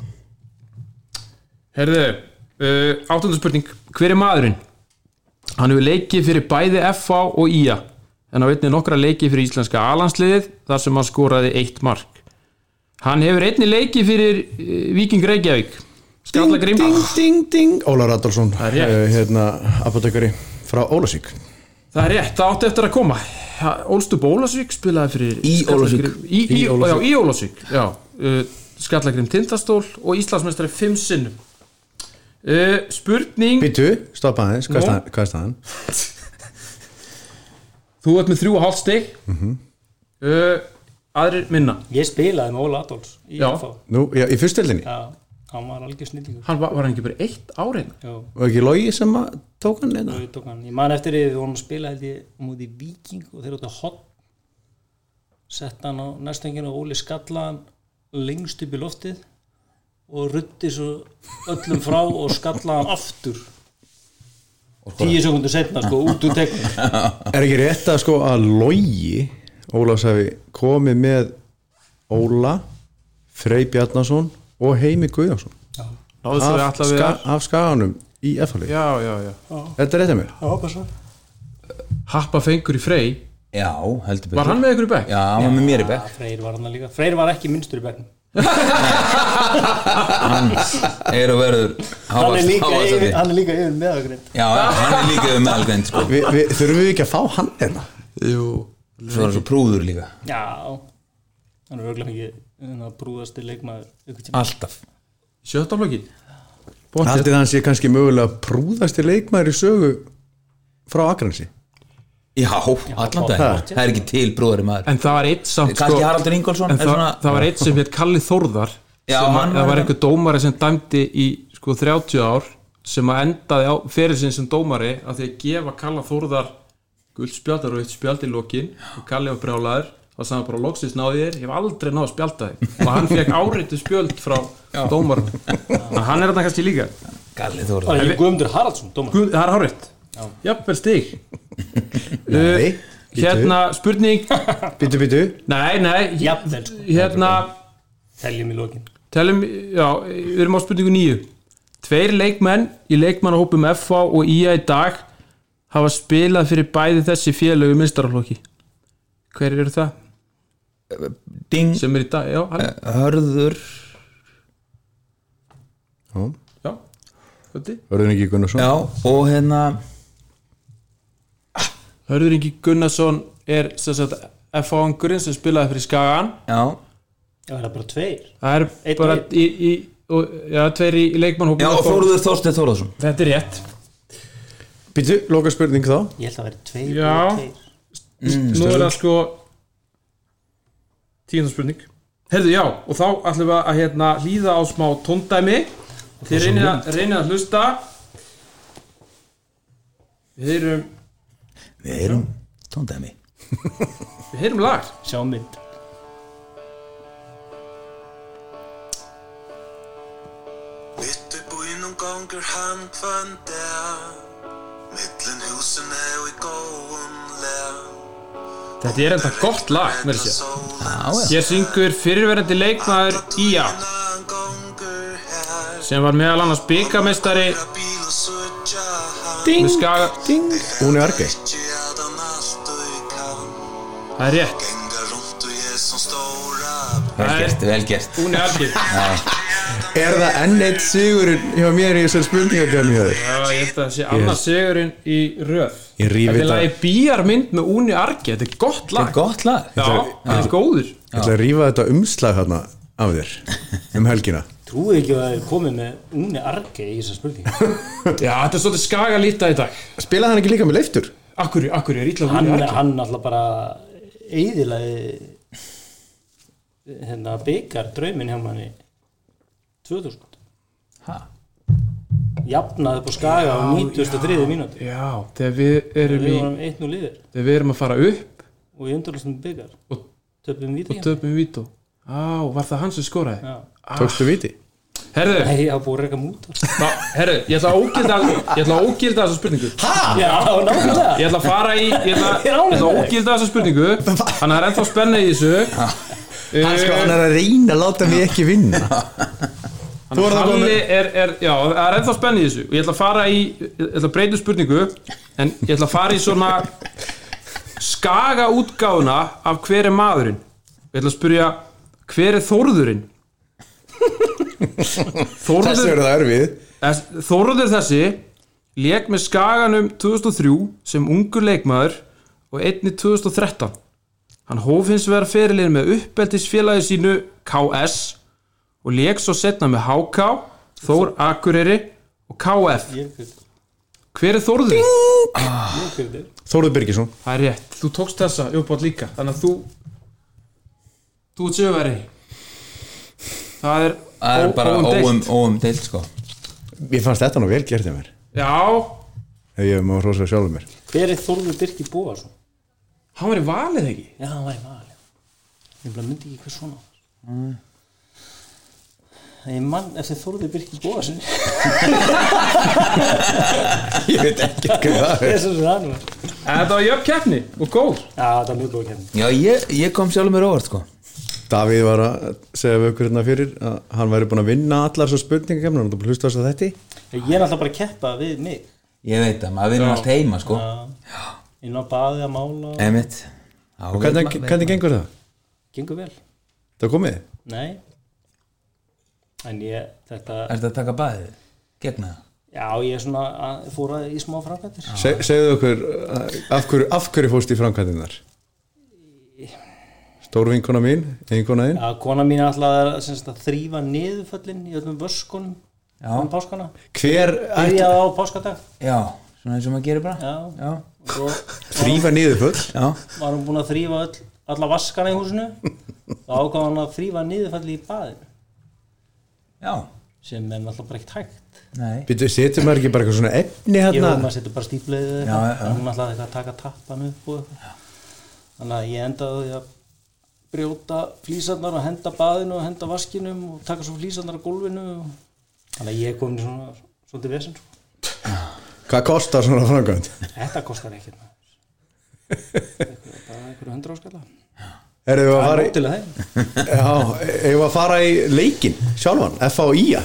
[SPEAKER 2] Herðu, uh, áttundu spurning Hver er maðurinn? Hann hefur leikið fyrir bæði FA og IA en á einni nokkra leikið fyrir íslenska alansliðið þar sem hann skoraði eitt mark Hann hefur einni leikið fyrir uh, Viking Reykjavík Skalla Grim
[SPEAKER 1] Ding, ding, ding Óla Raddarsson
[SPEAKER 2] er rétt.
[SPEAKER 1] eh, Hérna, apotekari frá Ólasík
[SPEAKER 2] Það er rétt, það átti eftir að koma Ólstu Bólasvík spilaði fyrir
[SPEAKER 3] Í Ólafsvík.
[SPEAKER 2] Skallagrim- Í, í,
[SPEAKER 1] Í Ólafsvík.
[SPEAKER 2] Já, í Ólásvík Já, uh, Skallagrim Tindastól og Íslandsmeistari fimm sinnum uh, Spurning
[SPEAKER 1] Býtu, stoppa aðeins, hvað er
[SPEAKER 2] Nú.
[SPEAKER 1] staðan- hvað er staðan?
[SPEAKER 2] Þú ert með þrjú og hálft stig
[SPEAKER 3] Mhm.
[SPEAKER 2] uh, Aðrir minna
[SPEAKER 4] Ég spilaði með Óla Adolfs í
[SPEAKER 2] Já.
[SPEAKER 4] FH
[SPEAKER 1] Nú, já, í fyrstildinni
[SPEAKER 4] Já, hann var algjör snillingur
[SPEAKER 2] Hann var, var hann ekki bara eitt áreina
[SPEAKER 4] Já,
[SPEAKER 1] og ekki logi sem að tók hann
[SPEAKER 4] og
[SPEAKER 1] hérna
[SPEAKER 4] ég tók hann Ég man eftir því við vorum að spila held ég á móti Viking og þeir áttu að hot sett hann á næstengin og Óli skallaði hann lengst upp í loftið og ruddi svo öllum frá og skallaði hann aftur tíu sekundur setna sko út úr tegnum
[SPEAKER 1] er ekki rétt að sko að logi Ólafs hafi komið með Óla Frey Bjarnason og Heimi Guðjónsson
[SPEAKER 2] Náðu svo við
[SPEAKER 1] af,
[SPEAKER 2] alltaf við
[SPEAKER 1] ska, af skaganum í F-halið
[SPEAKER 2] Já, já, já
[SPEAKER 1] þetta er rétt að mér
[SPEAKER 2] Happa fengur í Frey
[SPEAKER 3] Já, heldur betur
[SPEAKER 2] Var hann með ykkur í bekk?
[SPEAKER 3] Já, hann var með mér í bekk
[SPEAKER 4] Já, Freyr var hann líka Freyr var ekki minnstur í begnum
[SPEAKER 3] er og verður
[SPEAKER 4] hann er
[SPEAKER 3] háast-
[SPEAKER 4] líka
[SPEAKER 3] háastandi.
[SPEAKER 4] yfir, hann er líka yfir meðagrind
[SPEAKER 3] já, já, hann er líka yfir meðalgreind sko.
[SPEAKER 1] Vi, við, þurfum við ekki að fá hann hérna
[SPEAKER 2] Jú
[SPEAKER 3] svo er hann svo prúður líka
[SPEAKER 4] já hann er auðvitað mikið brúðasti leikmaður einhvern tímann.
[SPEAKER 3] alltaf
[SPEAKER 2] Sjötta flokki
[SPEAKER 1] haldið hans ég kannski mögulega prúðasti leikmaður í sögu frá Akransi
[SPEAKER 3] já, allan dag,
[SPEAKER 1] Ha.
[SPEAKER 3] það er ekki til prúður í maður
[SPEAKER 2] En það var eitt samt sko.
[SPEAKER 3] kannski Haraldur Ingolson
[SPEAKER 2] En
[SPEAKER 3] er
[SPEAKER 2] það,
[SPEAKER 3] svona,
[SPEAKER 2] það var eitt sem hétt Kalli Þórðar
[SPEAKER 3] Já,
[SPEAKER 2] sem
[SPEAKER 3] hann
[SPEAKER 2] að, Það
[SPEAKER 3] var- hérna-
[SPEAKER 2] var einhver dómari sem dæmdi í sko 30 ár sem að endaði á ferilsinn sem dómari að því að gefa Kalla Þórðar guldspjaldar og eitt spjald í lokin og Kalli var brjálaður þá sagði hann bara loksins náði þér, ég hef aldrei náði spjaldaði og hann fekk áreitu spjöld frá dómarum en hann er þarna kannski líka
[SPEAKER 3] Galli Þór
[SPEAKER 4] Það er ekki Guðmundur Haraldsson, dómar
[SPEAKER 2] Guð, það er áreitt, jafnvel stig
[SPEAKER 1] nei,
[SPEAKER 2] Eh, hérna spurning
[SPEAKER 1] býtu, býtu
[SPEAKER 2] nei, nei,
[SPEAKER 4] Jafnvel, sko.
[SPEAKER 2] hérna
[SPEAKER 4] teljum í lokin
[SPEAKER 2] Telum, já, við erum á spurningu nýju Tveir leikmenn í leikmannahópum FH og IA í dag hafa spilað fyrir bæði þessi félögu minnstaraflokki Hver eru það?
[SPEAKER 3] Ding
[SPEAKER 2] Sem er í dag, já, hann,
[SPEAKER 4] Eh.
[SPEAKER 3] Hörður
[SPEAKER 1] Já,
[SPEAKER 2] já Höndi.
[SPEAKER 1] verður ekki Gunnarsson
[SPEAKER 3] já, og hérna
[SPEAKER 2] Hörður Ingi Gunnarsson er sem sagt, FH-angurinn sem spilaði fyrir Skagan
[SPEAKER 3] já,
[SPEAKER 4] Já, það er bara tveir
[SPEAKER 2] Það er
[SPEAKER 4] Einn
[SPEAKER 2] bara
[SPEAKER 4] og
[SPEAKER 2] í, í og, já, tveir í, í leikmannhópum
[SPEAKER 3] Já, og Þórður Þorsteinn Þórðarsson
[SPEAKER 2] Þetta er rétt
[SPEAKER 1] Býtu, loka spurning þá
[SPEAKER 4] Ég held að vera tveir
[SPEAKER 2] Já.
[SPEAKER 4] og tveir
[SPEAKER 1] Mm.
[SPEAKER 2] Nú er það sko Tíundarspurning Herðu, já, og þá ætlum við að hérna, hlýða á smá tóndæmi Þið reynið að, reynið að hlusta Við heyrum,
[SPEAKER 3] Við erum tóndæmi
[SPEAKER 2] við heyrum lag
[SPEAKER 4] Sjá mynd
[SPEAKER 5] Mitt í búinum um gangur hann hvern dag Millen húsin er við góðum lag
[SPEAKER 2] Þetta er enda gott lag, mér sé
[SPEAKER 5] Sólin
[SPEAKER 2] Hér syngur fyrirverandi leikmaður Ía
[SPEAKER 5] hann gangur her
[SPEAKER 2] sem var meðal annars byggameistari
[SPEAKER 5] Fyrir bíl og sutja hann
[SPEAKER 2] með skaga
[SPEAKER 1] Ding. Hún er argei
[SPEAKER 5] Ekki að hann allt og ég kann
[SPEAKER 2] Það er rétt,
[SPEAKER 5] Gengar rundt og ég sem stóra
[SPEAKER 3] Vel
[SPEAKER 2] Nei.
[SPEAKER 3] gert, vel gert
[SPEAKER 2] hún er algir
[SPEAKER 1] Er það enn eitt sigurinn hjá mér í þessar spurningakefni hjá þér?
[SPEAKER 2] Já, ég held að það sé annars sigurinn í röð
[SPEAKER 1] Ég ríf
[SPEAKER 2] Þetta er
[SPEAKER 1] þetta.
[SPEAKER 2] lagi býjarmynd með Úni Argi Þetta er gott lag
[SPEAKER 3] Gott lag
[SPEAKER 2] Já, þetta er góður
[SPEAKER 1] Ég ætla að rífa þetta umslag hérna af þér um helgina
[SPEAKER 4] Trúið ekki að það er komið með unni arge í þessar spurning
[SPEAKER 2] Já, þetta er svolítið skaga lítið í dag
[SPEAKER 1] Spilaði hann ekki líka með leiftur?
[SPEAKER 2] Akkur, akkur, er ítla
[SPEAKER 4] Hann,
[SPEAKER 2] Úni Argi
[SPEAKER 4] hann alltaf bara eiðilaði hérna byggar drauminn hjá manni 2000
[SPEAKER 3] Ha?
[SPEAKER 4] jafnaði upp á skaga á 93. mínúti
[SPEAKER 2] Já, þegar við erum
[SPEAKER 4] við
[SPEAKER 2] í
[SPEAKER 4] vorum 1-0 yfir
[SPEAKER 2] Þegar við erum að fara upp
[SPEAKER 4] og í undarlastum byggar
[SPEAKER 2] og,
[SPEAKER 4] töpum hérna. við
[SPEAKER 2] og töpum við vító Á, var það hann sem skoraði?
[SPEAKER 4] Nei,
[SPEAKER 1] Tókstu viti?
[SPEAKER 2] Herðu,
[SPEAKER 4] ég hafa búið að reyka múta
[SPEAKER 2] þá, herðu, ég ætla að ógilda Ég ætla að ógilda þessa spurningu
[SPEAKER 4] Já, nákvæmlega
[SPEAKER 2] Ég ætla að fara í Ég ætla,
[SPEAKER 4] Ég
[SPEAKER 2] ég
[SPEAKER 4] er
[SPEAKER 2] ætla
[SPEAKER 4] ánægður
[SPEAKER 2] að
[SPEAKER 4] með þig.
[SPEAKER 2] ógilda þessa spurningu Þannig að það er ennþá spenna í þessu
[SPEAKER 1] Hann sko, hann er að reyna að láta mig ekki vinna Þú
[SPEAKER 2] Þannig
[SPEAKER 1] er það
[SPEAKER 2] að Halli
[SPEAKER 1] komið
[SPEAKER 2] er, er, já, það er ennþá spenna í þessu og ég ætla að fara í, ég ætla að breyta um spurningu en ég ætla að fara í svona skaga útgáfuna af hver er maðurinn ég ætla að spyrja hver er Þórðurinn
[SPEAKER 1] Þessi
[SPEAKER 2] Þórður,
[SPEAKER 1] verður það erfið
[SPEAKER 2] þess- Þórður þessi leik með skaganum 2003 sem ungur leikmaður og einni 2013 hann hóf hins vegar fyrirlið með uppeldisfélagi sínu KS og leik svo setna með HK Þór Akureyri og KF
[SPEAKER 4] Ég hugsa-
[SPEAKER 2] hver er Þórður?
[SPEAKER 4] ég hugsa-
[SPEAKER 1] Þórður Birgisson
[SPEAKER 2] Það er rétt, þú tókst þessa uppátt líka þannig að þú þú ert sjöfæri það er,
[SPEAKER 3] Það er
[SPEAKER 2] ó-
[SPEAKER 3] bara
[SPEAKER 2] óumdeilt.
[SPEAKER 3] óum, óum deilt sko
[SPEAKER 1] Ég fannst þetta nú vel gert hjá mér
[SPEAKER 2] já,
[SPEAKER 1] Ef ég má hrósa sjálfur mér
[SPEAKER 4] Hver er Þorður Birki Bóarsson?
[SPEAKER 2] hann var í valið ekki
[SPEAKER 4] Já, hann var í val Ég bara myndi ekki hvað svona var Ég mann eftir Þorður Birki Bóarsson
[SPEAKER 1] Ég veit ekki hvað það er
[SPEAKER 4] Þessum sem hann var
[SPEAKER 2] en þetta var jöfn keppni og góð
[SPEAKER 4] Já, þetta var mjög góð kemni
[SPEAKER 3] Já, ég, ég kom sjálfur mér óvart sko
[SPEAKER 1] Davíð var að segja við okkur hérna fyrir að hann væri búin að vinna allar svo spurningakefnir hann er búin að hlusta þess að þetta
[SPEAKER 4] Ég er alltaf bara að keppa við mig
[SPEAKER 3] Ég veit að maður vinnur allt heima sko
[SPEAKER 4] Inn á baði að mála og
[SPEAKER 3] Emitt
[SPEAKER 1] Og hvernig, hvernig gengur það?
[SPEAKER 4] gengur vel
[SPEAKER 1] Það komið?
[SPEAKER 4] Nei En ég, þetta
[SPEAKER 3] Er þetta að taka bæðið? Gegna það?
[SPEAKER 4] Já, ég er svona að fóra í smá framkvæmtir
[SPEAKER 1] Se, segðu okkur uh, af hverju, af hverju fórst í framkvæmdinnar stór vinkona mín einkona þín,
[SPEAKER 4] Já, kona mín alltaf að, að þrýfa niðurföllin í öllum vöskunum
[SPEAKER 3] Já.
[SPEAKER 4] um páskana
[SPEAKER 1] hver ætti
[SPEAKER 4] Byrjaði á páskadag
[SPEAKER 3] Já, svona eins og maður gerir bara
[SPEAKER 4] Já,
[SPEAKER 3] Já,
[SPEAKER 4] og svo
[SPEAKER 1] þrýfa niður full
[SPEAKER 3] já.
[SPEAKER 4] var hún búin að þrýfa öll, alla vaskana í húsinu og ákvað hann að þrýfa niðurfalli í baðinu
[SPEAKER 3] já.
[SPEAKER 4] sem er náttúrulega bara ekkert hægt
[SPEAKER 3] Nei
[SPEAKER 1] Býtu, setjum maður ekki bara eitthvað svona efni
[SPEAKER 4] ég voru maður
[SPEAKER 1] hérna
[SPEAKER 4] að setja bara stíflegið eða
[SPEAKER 3] Já,
[SPEAKER 4] eitthvað,
[SPEAKER 3] já.
[SPEAKER 4] en hún ætlaði eitthvað að taka tappan upp og eitthvað þannig að ég endaði á því að brjóta flísarnar og henda baðinu og henda vaskinum og taka svo flísarnar á gólfinu og... þannig að ég kom í svona svona vesen sko.
[SPEAKER 1] hvað kostar svona framkvæmd
[SPEAKER 4] þetta kostar ekkert maður. Einhver- bara einhverju hundra áskalla
[SPEAKER 1] erum við að
[SPEAKER 4] það er
[SPEAKER 1] fara í,
[SPEAKER 4] ótilega þeim
[SPEAKER 1] já, erum við að fara í leikin sjálfan, F.A.I.A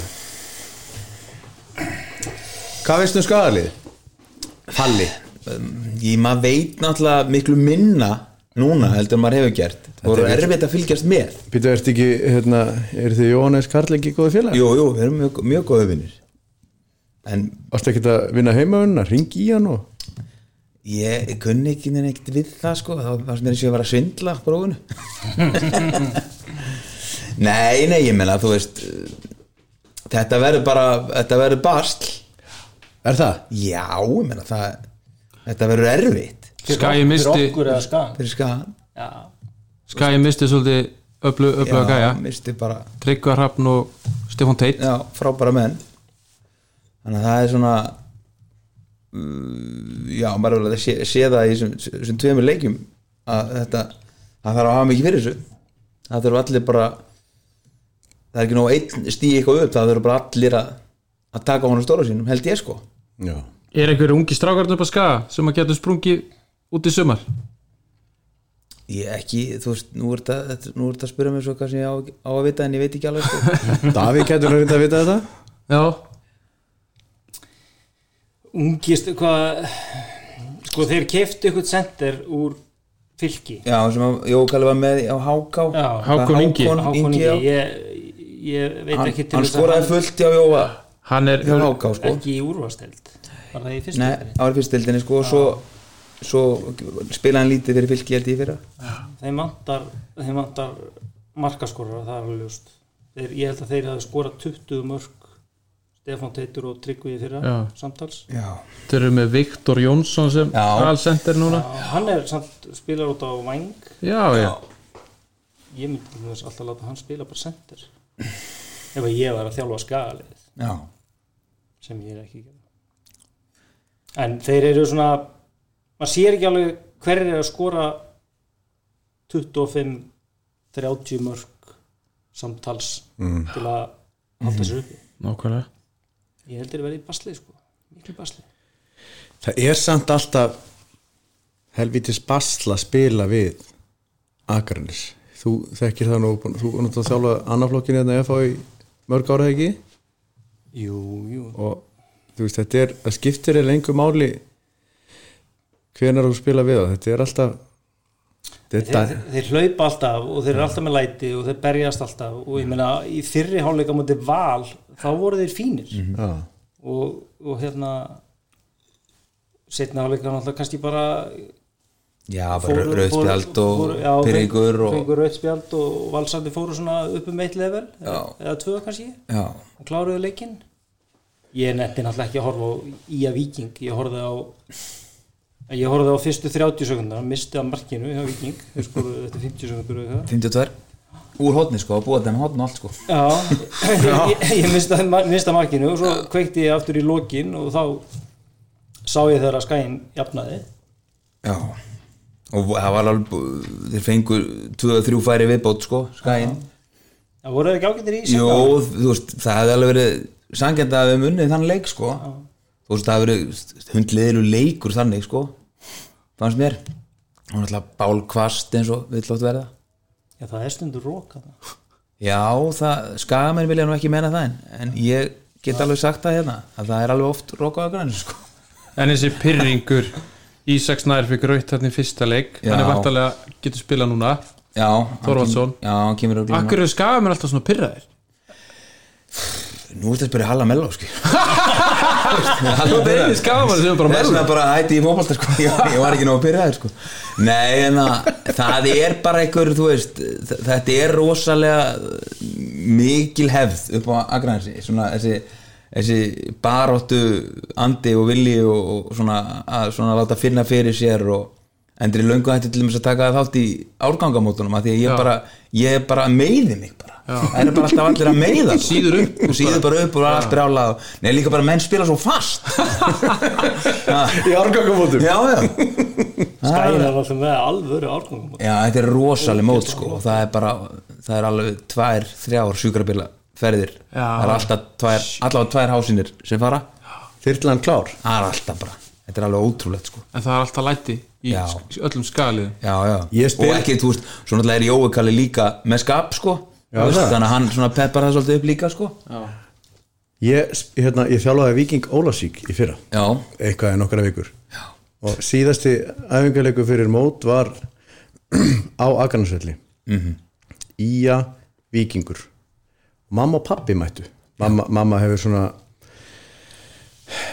[SPEAKER 1] hvað veistu um skadalið? Halli
[SPEAKER 3] Um, Ég maður veit náttúrulega miklu minna núna heldur en maður hefur gert Það voru erfitt að fylgjast með
[SPEAKER 1] Býtu, ertu ekki, hérna, er þið Jóhannes Karl ekki góði félag?
[SPEAKER 3] Jú, jú, við erum mjög, mjög góðu vinnir En
[SPEAKER 1] Varstu ekki að vinna heimavunna, ringi í hann og
[SPEAKER 3] ég kunni ekki neina ekkert við það sko þá var sem mér eins og ég var að svindla bróðinu Nei, nei, ég meina þú veist eh, Þetta verður bara, þetta verður basl
[SPEAKER 1] Er það?
[SPEAKER 3] Já, ég meina það Þetta verður erfitt
[SPEAKER 2] Skagi
[SPEAKER 4] Fyrir
[SPEAKER 2] misti,
[SPEAKER 4] okkur eða skag
[SPEAKER 3] Fyrir skagan
[SPEAKER 4] Já,
[SPEAKER 2] Skagi misti svolítið öllu, öllu að gæja
[SPEAKER 3] misti bara,
[SPEAKER 2] Tryggvar Hrafn og Stefán Teit
[SPEAKER 3] já, frábæra menn Þannig að það er svona mm, Já, maður er vel að sé, sé það í þessum- þessum tveimur leikjum að þetta, það þarf að hafa mikið fyrir þessu Það þurfa allir bara það er ekki nóg einn stíð eitthvað upp það þurfa bara allir að, að taka honum stóra sínum, held ég sko
[SPEAKER 1] Já
[SPEAKER 2] Er einhverjum ungi strákarnir upp að skaga sem að getur sprungið út í sumar?
[SPEAKER 3] Ég ekki, þú veist, nú er þetta þetta- nú er þetta að spyrja mér svo hvað sem ég á, á að vita en ég veit ekki alveg sko.
[SPEAKER 1] Davík getur að reynda að vita þetta
[SPEAKER 2] Já,
[SPEAKER 4] ungist, hvað sko þeir keftu ykkur sendir úr fylki
[SPEAKER 3] Já, sem að Jókali var með á Háká
[SPEAKER 4] Já,
[SPEAKER 2] Hákon Ingi.
[SPEAKER 3] Hákon
[SPEAKER 4] Hákon
[SPEAKER 3] Ingi,
[SPEAKER 4] Ingi,
[SPEAKER 3] já.
[SPEAKER 4] ég, ég veit
[SPEAKER 3] hann,
[SPEAKER 4] ekki til
[SPEAKER 3] hann
[SPEAKER 4] þess að
[SPEAKER 3] skoraði fullt hjá Jóa
[SPEAKER 2] hann er
[SPEAKER 3] hjá Háká sko
[SPEAKER 4] ekki í úrvasteld var það í fyrstu
[SPEAKER 3] Nei,
[SPEAKER 4] umferðinni?
[SPEAKER 3] árið fyrstildinni sko og svo, svo spilaði hann lítið fyrir fylki held ég í fyrra
[SPEAKER 4] þeim vantar, þeim vantar markaskorar, það er alveg ljóst þeir, ég held að þeir hafi skorað 20 mörg Stefán Teitur og Tryggvi í fyrra
[SPEAKER 2] Já.
[SPEAKER 4] samtals
[SPEAKER 3] Já,
[SPEAKER 2] Þeir eru með Viktor Jónsson sem
[SPEAKER 3] Já.
[SPEAKER 2] allsender núna
[SPEAKER 4] hann er samt spilar út á væng
[SPEAKER 2] Já, já,
[SPEAKER 4] ég myndi til þess alltaf láta hann spila bara sendir ef að ég var að þjálfa skagalið
[SPEAKER 3] já,
[SPEAKER 4] sem ég er ekki að gera en þeir eru svona maður sér ekki alveg hverjir er að skora 25 30 mörg samtals til að halda sér uppi
[SPEAKER 2] nákvæmlega
[SPEAKER 4] ég heldur að verði í basli sko miklu basli
[SPEAKER 1] Það er samt alltaf helvitis basla að spila við Akarnes þú þekkir það nú, búin- þú er náttúrulega að þjálfa annarflokkinu en að FH hérna í mörg ára ekki
[SPEAKER 4] jú, jú
[SPEAKER 1] og þú veist þetta er, það skiptir er lengur máli hvenar þú spila við það, þetta er alltaf þetta,
[SPEAKER 4] þeir, þeir hlaupa alltaf og þeir eru alltaf með læti og þeir berjast alltaf og ég meina í fyrri hálfleika múti val þá voru þeir fínir
[SPEAKER 1] já,
[SPEAKER 4] og, og hérna setna hálfleika náttúrulega kannski bara
[SPEAKER 3] já bara rauðspjald og
[SPEAKER 4] fóru- já,
[SPEAKER 3] pyrringur og
[SPEAKER 4] fengu rauðspjald og valsandi fóru svona upp um eitt level eða,
[SPEAKER 3] Já.
[SPEAKER 4] eða tvö kannski
[SPEAKER 3] Já,
[SPEAKER 4] og kláruðu leikinn ég netti náttúrulega ekki að horfa á Ía Viking ég horfði á ég horfði á fyrstu 30 sekundar misti að markinu hjá Viking þeir skoruðu þetta 50 sekundur eða eitthvað
[SPEAKER 3] 52 Úr hótni sko, að búa þetta en hótn og allt sko
[SPEAKER 4] Já, ég, ég, ég mista, mista markinu og svo kveikti ég aftur í lokin og þá sá ég þegar að skæin jafnaði
[SPEAKER 3] Já Og það var alveg, bú- þeir fengu 2-3 færi viðbót sko, skæinn
[SPEAKER 4] Það voru þeir ekki ágættir í
[SPEAKER 3] Jó,
[SPEAKER 4] seinna?
[SPEAKER 3] þú veist, það hefði alveg verið sangjandi að við munnið þann leik sko Þú veist, það hefði verið hundliðilu leikur þannig sko fannst mér og náttúrulega bálkvast eins og við lótt verða
[SPEAKER 4] Já, það er stundur rók þarna.
[SPEAKER 3] Já, það, skagamenn vilja nú ekki meina það en, en ég get alveg sagt það hérna að það er alveg oft rokkað að grænu sko
[SPEAKER 2] En þessi pyrringur Ísaks Nær fyrir gröyt þarna í fyrsta leik
[SPEAKER 3] Já.
[SPEAKER 2] Þannig vartalega getur spilað núna
[SPEAKER 3] Já, hann
[SPEAKER 2] Þorvaldsson.
[SPEAKER 3] kem- Já, hann kemur örugglega núna.
[SPEAKER 2] Akkur eru skaga mér alltaf svona pyrraðir
[SPEAKER 3] Nú ertu að spyrja Halla Melló sko Halla sko.
[SPEAKER 2] Þú veist, skaman sem er bara
[SPEAKER 3] Þess vegna
[SPEAKER 2] mellum
[SPEAKER 3] bara hætti ég fótbolta sko Ég, ég var ekki nóg að byrja það sko Nei en að, það er bara einhver þú veist, þ- þetta er rosalega uh, mikil hefð upp á agrænsi svona þessi, þessi baróttu andi og vilji og, og svona, að, svona láta finna fyrir sér og endri löngu hætti til þess að taka það þátt í árgangamótunum að því að ég
[SPEAKER 2] Já.
[SPEAKER 3] bara ég bara meiði mig bara það er bara alltaf allir að meiða sko.
[SPEAKER 2] Sýður upp.
[SPEAKER 3] Þú sýður bara upp og allt brjála og... nei líka bara menn spila svo fast
[SPEAKER 1] í árgangamótum
[SPEAKER 3] já já
[SPEAKER 4] Skæin er alltaf með alvöru árgangum
[SPEAKER 3] Já, þetta er rosaleg mót sko og það er bara, það er alveg tvær, þrjár sjúkrabila ferðir
[SPEAKER 2] Já.
[SPEAKER 3] það er alltaf tvær, allavega tvær hásinir sem fara,
[SPEAKER 1] þyrlan klár
[SPEAKER 3] það er alltaf bara þetta er alveg ótrúlegt sko
[SPEAKER 2] En það er alltaf læti í
[SPEAKER 3] Já.
[SPEAKER 2] sk- öllum skaliðum
[SPEAKER 3] já, já.
[SPEAKER 1] Ég spil-
[SPEAKER 3] og ekki, þú veist, svo náttúrulega er Jói Kalli líka með skap sko
[SPEAKER 1] Já,
[SPEAKER 3] Þú veist,
[SPEAKER 1] það.
[SPEAKER 3] þannig að hann svona peppar það svolítið upp líka sko
[SPEAKER 1] ég, hérna, ég þjálfaði Viking Ólasík í fyrra
[SPEAKER 3] já,
[SPEAKER 1] eitthvað en okkara vikur Já. og síðasti æfingarleiku fyrir mót var á Akarnasvelli mm
[SPEAKER 3] Mhm.
[SPEAKER 1] -hmm. Ía Víkingur mamma og pappi mættu mamma, mamma hefur svona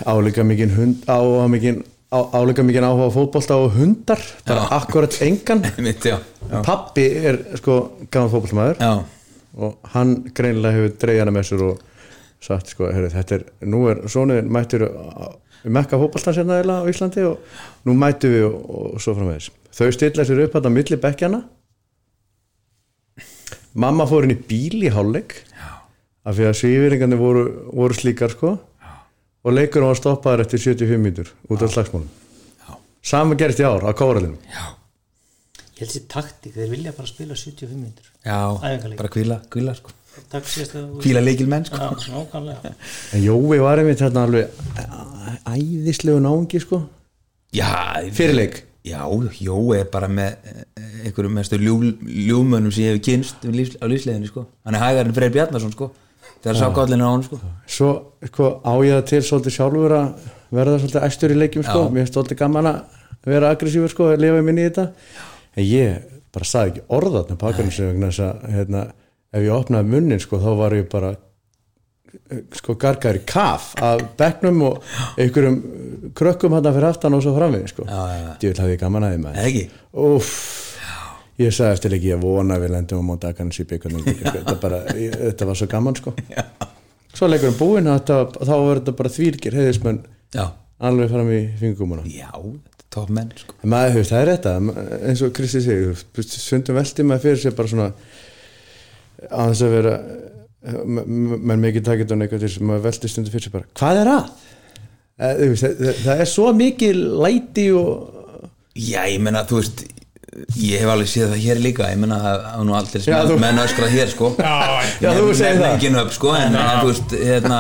[SPEAKER 1] áleika mikinn hund áhuga mikinn á, áleika mikinn áhuga á fótbolta og hundar bara
[SPEAKER 3] Já.
[SPEAKER 1] akkurat engan
[SPEAKER 3] mitt, já já,
[SPEAKER 1] pappi er sko gaman fótboltamaður
[SPEAKER 3] já,
[SPEAKER 1] og hann greinilega hefur dreigðana með sér og sagt sko, heru, þetta er, nú er sonuðin mættur á- við mekka fótballtans hérna eiginlega á Íslandi og nú mættu við og, og svo framvegis þau stilla sér upp þetta milli bekkjana mamma fór inn í bíl í hálfleik af því að sýfiringarnir voru, voru slíkar sko Já. og leikurinn var stoppaður eftir 75 mínútur út af slagsmálum sama gerist í ár á kóralinum
[SPEAKER 4] Ég held sér taktík, þeir vilja bara spila 75 minnur
[SPEAKER 3] já,
[SPEAKER 4] Æfingaleik.
[SPEAKER 3] bara kvíla, kvíla sko
[SPEAKER 4] Takk sést að
[SPEAKER 3] kvíla leikil menn sko
[SPEAKER 4] Já, nákvæmlega
[SPEAKER 1] en Jói var einmitt hérna alveg æ- æðislegu náungi sko
[SPEAKER 3] já,
[SPEAKER 1] fyrirleik
[SPEAKER 3] já, Jói er bara með eh, einhverjum mestu ljú, ljúmönum sem ég hef kynst um lífs, á lífsleiðinu sko hann er hægarinn Freyr Bjarnason sko þegar sá gállinu á hann sko
[SPEAKER 1] svo sko, á ég það til svolítið sjálfur að verða svolítið æstur í leikjum sko.
[SPEAKER 3] Já.
[SPEAKER 1] mér er svolítið gaman að vera aggressífur sko, að lifa minni í þetta en ég bara sagði ekki orðatna pakarinn sem vegna þess að hérna, ef ég opnaði munnin sko, þá var ég bara eh, sko gargar í kaf af bekknum og einhverjum eh, krökkum hann fyrir aftan og svo framvið sko.
[SPEAKER 3] já, já.
[SPEAKER 1] djúvill hafði ég gaman að því
[SPEAKER 3] eða
[SPEAKER 1] maður
[SPEAKER 3] ekki
[SPEAKER 1] Úff Ég sagði eftir ekki að vona að við lendum á móti Akarnas í byggarnum þetta, bara, ég- þetta var svo gaman sko Svo leikur um búin að þetta, þá var þetta bara þvílgir heiðismenn
[SPEAKER 3] já,
[SPEAKER 1] alveg fram í fingumuna
[SPEAKER 3] já, þetta er topp menn sko
[SPEAKER 1] maður hefur það er þetta ma- eins og Kristi segir, þú veist, stundum velti maður fyrir sér bara svona á þess að vera m- m- menn mikið takit á neikvæð til þess maður velti stundum fyrir sér bara, hvað er að? Eh, þú veist, Það, það- það er svo mikið læti og
[SPEAKER 3] já, ég meina, þú veist ég hef alveg séð það hér líka ég meina, það það er nú aldrei
[SPEAKER 1] Já,
[SPEAKER 3] menn,
[SPEAKER 1] þú-
[SPEAKER 3] menn öskrað hér sko
[SPEAKER 2] Já,
[SPEAKER 1] Já, þú segir það.
[SPEAKER 3] engin upp sko en, en þú veist, hérna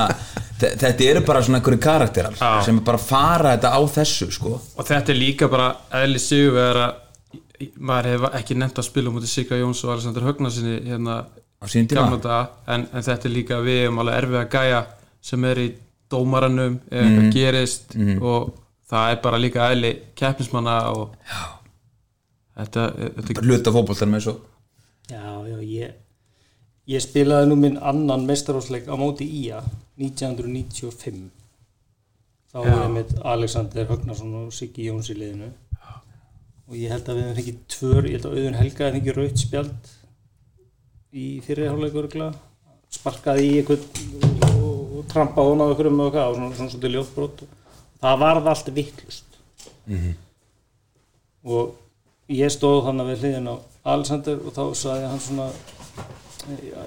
[SPEAKER 3] þe- þetta eru bara svona einhverju karakterar
[SPEAKER 2] Já.
[SPEAKER 3] sem bara fara þetta á þessu sko
[SPEAKER 2] og þetta er líka bara eðli sigur verið að maður hefur ekki nefnt að spila mútið Sigga Jóns og Alexander Högnarsinni hérna
[SPEAKER 3] á sínum tíma
[SPEAKER 2] gamla daga en, en þetta er líka við um alveg erfið að gæja sem er í dómaranum ef eitthvað gerist og það er bara líka eðli keppnismanna og Já. þetta, þetta
[SPEAKER 3] hluta fótboltanum eins og
[SPEAKER 4] Já, já, ég Ég spilaði nú minn annan mestarósleik á móti IA 1995 Þá var ég með Alexander Högnason og Siggi Jóns í liðinu og ég held að við hefum fengið tvör ég held að auðun helga hefði fengið raut spjald í fyrirháleikurgla sparkaði í einhvern og, og trampa hona á einhverjum og hvað, og svona, svona svolítið ljófbrót það varð allt vittlust og ég stóð þannig við hliðin á Alexander og þá sagði hann svona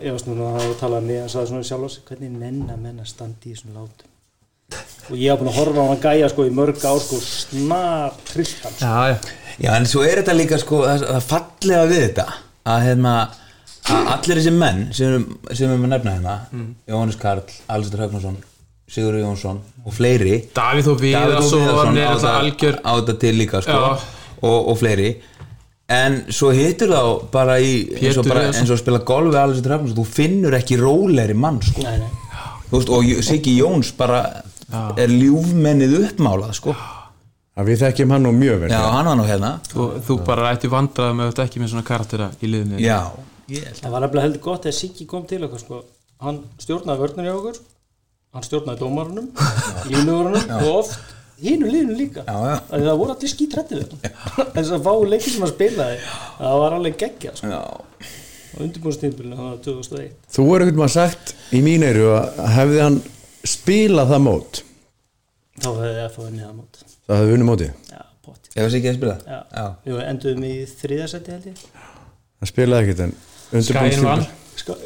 [SPEAKER 4] ég var svona að hafa talað með hann sagði svona sjálf á sig, hvernig nenna menna standi í þessum látum og ég var búin að horfa á hann gæja sko í mörg ár sko snar tristan sko.
[SPEAKER 2] Já, já.
[SPEAKER 3] Já, en svo er þetta líka sko, það, það fallega við þetta að hérna að allir þessi menn sem, eru- sem við nefna hérna
[SPEAKER 2] Mm.
[SPEAKER 3] Jóhannes Karl, Alistair Högnason Sigur Jónsson og fleiri
[SPEAKER 2] Davíð og
[SPEAKER 3] Viðarsson
[SPEAKER 2] Viðarsson er
[SPEAKER 3] á
[SPEAKER 2] alltaf algjör
[SPEAKER 3] þetta- á þetta til líka sko,
[SPEAKER 2] Já.
[SPEAKER 3] og, og fleiri en svo hittur þá bara í eins og,
[SPEAKER 2] Pétur
[SPEAKER 3] bara,
[SPEAKER 2] Viðarsson.
[SPEAKER 3] eins og að spila golfi Alistair Högnason, þú finnur ekki rólegri mann sko.
[SPEAKER 4] nei, nei.
[SPEAKER 3] Þú veist, og J- Siggi Jóns bara er ljúfmennið uppmálað sko.
[SPEAKER 1] að við þekkjum hann nú mjög vel
[SPEAKER 3] já, hann var nú hérna
[SPEAKER 2] og þú bara ætti vandraði með þetta ekki með svona karaktera í liðinni
[SPEAKER 3] já, ég held
[SPEAKER 4] það var nefnilega heldur gott þegar Siggi kom til okkur sko. hann stjórnaði vörnur hjá okkur hann stjórnaði dómarunum línugurunum og oft hinu liðinu líka
[SPEAKER 3] Já, já.
[SPEAKER 4] Af því það voru allir skítrætti við hann en þess að fá leikir sem hann spilaði það var alveg geggja sko.
[SPEAKER 3] já.
[SPEAKER 4] á undirbúinnstímpilinu það var 2001
[SPEAKER 1] Þú er einhvern veginn sagt í mín eyru að hefði hann spilað það mót
[SPEAKER 4] þá hefði ég að fá henni það mót
[SPEAKER 1] það hefði vunni mótið
[SPEAKER 4] já, pott
[SPEAKER 3] Ef það sé ekki að spila?
[SPEAKER 4] já. Jú, enduðum í þriðasetti held ég
[SPEAKER 1] hann spilaði ekkert en
[SPEAKER 2] Skæin vann
[SPEAKER 1] undirbúinstímbil
[SPEAKER 4] Ska,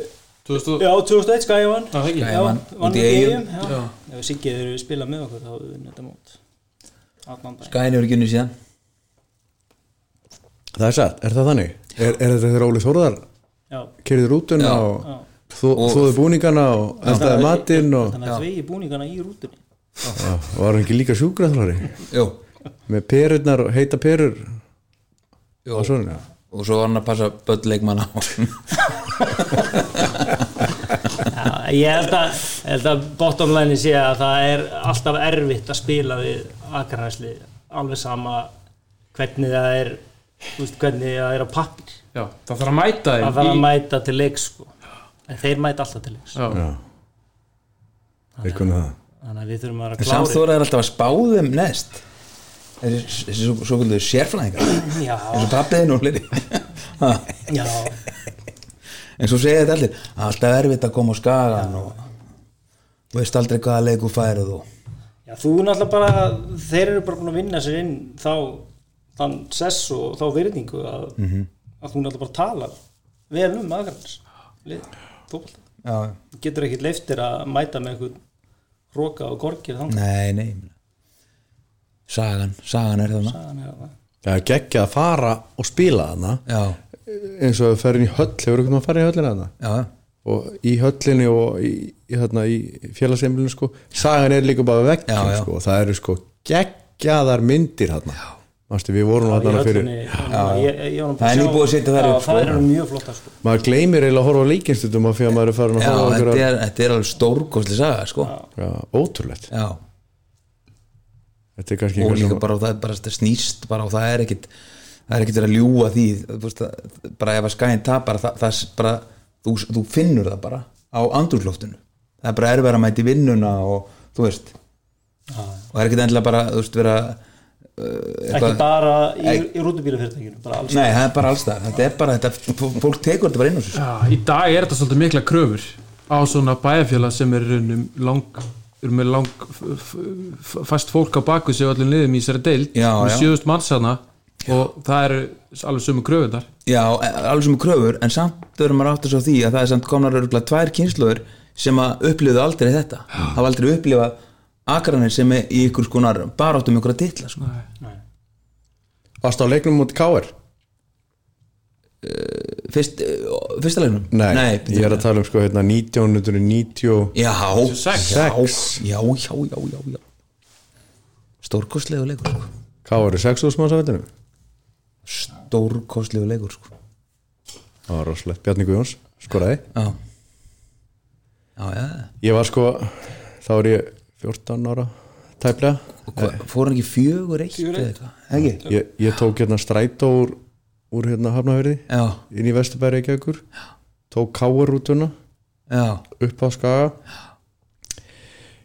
[SPEAKER 2] Þú veist þú
[SPEAKER 4] já, 2001 skæði hann
[SPEAKER 2] Það er ekki
[SPEAKER 4] já,
[SPEAKER 3] vann.
[SPEAKER 4] vann
[SPEAKER 3] Úti í
[SPEAKER 4] í
[SPEAKER 3] Eyjum.
[SPEAKER 4] eigum ef Siggi hefur spilað með okkur þá hefði við þetta mót allan dag
[SPEAKER 3] Gæni eru ekki unni síðan
[SPEAKER 1] það er satt, er það þannig? Er, er þetta þegar Óli Þórðar
[SPEAKER 4] já,
[SPEAKER 1] kerði rútuna
[SPEAKER 3] Já.
[SPEAKER 1] og þóði búningana og eldaði matinn og,
[SPEAKER 4] þannig að þvegi búningana í rútunni
[SPEAKER 1] Já, og var hann ekki líka sjúkraþlari
[SPEAKER 3] Jú.
[SPEAKER 1] með perurnar og heita perur
[SPEAKER 3] Jú.
[SPEAKER 1] og svona
[SPEAKER 3] Og svo var hann að passa börn leikmanna á
[SPEAKER 4] Já, ég held að, held að bottom line sé að það er alltaf erfitt að spila við akranæsli alveg sama hvernig það er þú veist, hvernig það er á pappir
[SPEAKER 2] Já, það þarf að mæta þeim
[SPEAKER 4] það þarf að
[SPEAKER 2] í-
[SPEAKER 4] mæta til leiks sko. en þeir mæta alltaf til leiks
[SPEAKER 2] Já.
[SPEAKER 1] já þeir kunna það
[SPEAKER 4] þannig að við þurfum að vera
[SPEAKER 3] Samt
[SPEAKER 4] klári
[SPEAKER 3] þú er alltaf að spáðum neðst Þessi þessi svo, svo kvöldu sérfræðingar
[SPEAKER 4] já,
[SPEAKER 3] Eins og pappiðin og fleiri Ha.
[SPEAKER 4] já,
[SPEAKER 3] En svo segja þetta allir Alltaf erfitt að koma á skagan og Þú veist aldrei hvaða leiku færið þú
[SPEAKER 4] Já, þú náttúrulega bara, þeir eru bara búin að vinna sér inn þá þann sess og þá virðingu að,
[SPEAKER 3] Mhm.
[SPEAKER 4] að þú náttúrulega bara talar vel um aðgrannars fótbolta,
[SPEAKER 3] Já,
[SPEAKER 4] Þú getur ekkit leiftir að mæta með einhvern roka og gorgir þannig
[SPEAKER 3] nei, nei ég meina. Sagan, sagan er þarna
[SPEAKER 4] Þannig að það
[SPEAKER 1] Já, geggja að fara og spila hana
[SPEAKER 3] Já,
[SPEAKER 1] eins og að ferja inn í höll hefur einhvern veginn að fara í höllina hana
[SPEAKER 3] já,
[SPEAKER 1] og í höllinni og í, í, þarna, í félagseimilinu sko sagan er líka bara vekk
[SPEAKER 3] Já, já.
[SPEAKER 1] sko, og það eru sko geggjaðar myndir þarna Manstu, við vorum
[SPEAKER 4] Já, í
[SPEAKER 1] þarna fyrir
[SPEAKER 4] höllinni, þannig að ég- ég- ég var nú bara
[SPEAKER 3] Það er
[SPEAKER 4] að sjá-
[SPEAKER 3] nýbúið að setja þær
[SPEAKER 4] Já,
[SPEAKER 3] upp, sko.
[SPEAKER 4] Það eru mjög flottar sko
[SPEAKER 1] maður gleymir eiginlega að horfa á leikinstutum af því að maður er farin að
[SPEAKER 3] já
[SPEAKER 1] horfa á
[SPEAKER 3] þetta,
[SPEAKER 1] einhverja-
[SPEAKER 3] er, þetta er alveg stórkostli saga sko.
[SPEAKER 1] Já, ótrúlegt
[SPEAKER 3] Já,
[SPEAKER 1] þetta er kannski
[SPEAKER 3] og
[SPEAKER 1] einhver
[SPEAKER 3] líka
[SPEAKER 1] sem-
[SPEAKER 3] bara á það er bara þetta snýst bara og það er ekkit það er ekkit verið að ljúga því þú veist, það, bara ef að skæðin tapar það, það er bara, þú, þú finnur það bara á andrúsloftinu það er bara erfæra mæti vinnuna og þú veist og það er ekkit endilega bara þú veist vera uh,
[SPEAKER 4] Ekki
[SPEAKER 3] eitthvað-
[SPEAKER 4] bara í, í rútubílafyrirtækinu bara alls
[SPEAKER 3] Nei, það er bara alls það, þetta er bara þetta, fó- fólk tekur þetta bara inn á sér
[SPEAKER 2] Já, í dag er þetta svolítið mikla kröfur á svona bæjarfjöla sem er raunum lang, er með lang f- f- f- fast fólk á baku sig á öllum liðum í þessari deild
[SPEAKER 3] Já,
[SPEAKER 2] með
[SPEAKER 3] já.
[SPEAKER 2] sjöðust mannsana og það eru alveg sömu kröfundar
[SPEAKER 3] Já, alveg sem kröfur, en samt verður maður átt að svo því að það er samt komnar örgulega tvær kynsluður sem að upplifu aldrei þetta hafa aldrei upplifað akranir sem er í ykkur skonar bara áttum ykkur að titla sko.
[SPEAKER 1] varst á leiknum mútið K.R.
[SPEAKER 3] Fyrst, eh, fyrsta leiknum
[SPEAKER 1] Nei,
[SPEAKER 3] bíddu.
[SPEAKER 1] ég er að tala um sko hérna 1996
[SPEAKER 3] Já,
[SPEAKER 2] Sex.
[SPEAKER 3] já, já, já, já, já, já. Stórkostlegu leikur sko.
[SPEAKER 1] K.R. er 6.000 manns á vettinu
[SPEAKER 3] Stórkostlegu leikur sko.
[SPEAKER 1] það var rosalegt, Bjarni Guðjóns skoraði
[SPEAKER 3] Já Já, já,
[SPEAKER 1] ég var sko, þá er ég 14 ára tæplega
[SPEAKER 3] og hvað, fór hann ekki fjögur eitt
[SPEAKER 4] Fjögur
[SPEAKER 3] eða
[SPEAKER 4] eitt.
[SPEAKER 3] eitthvað, ekki?
[SPEAKER 1] ég, ég tók hérna strætó úr, úr hérna Hafnafjörði
[SPEAKER 3] Já,
[SPEAKER 1] inn í Vesturbæri ekki ekkur tók K.R. rútuna
[SPEAKER 3] já,
[SPEAKER 1] upp á Skaga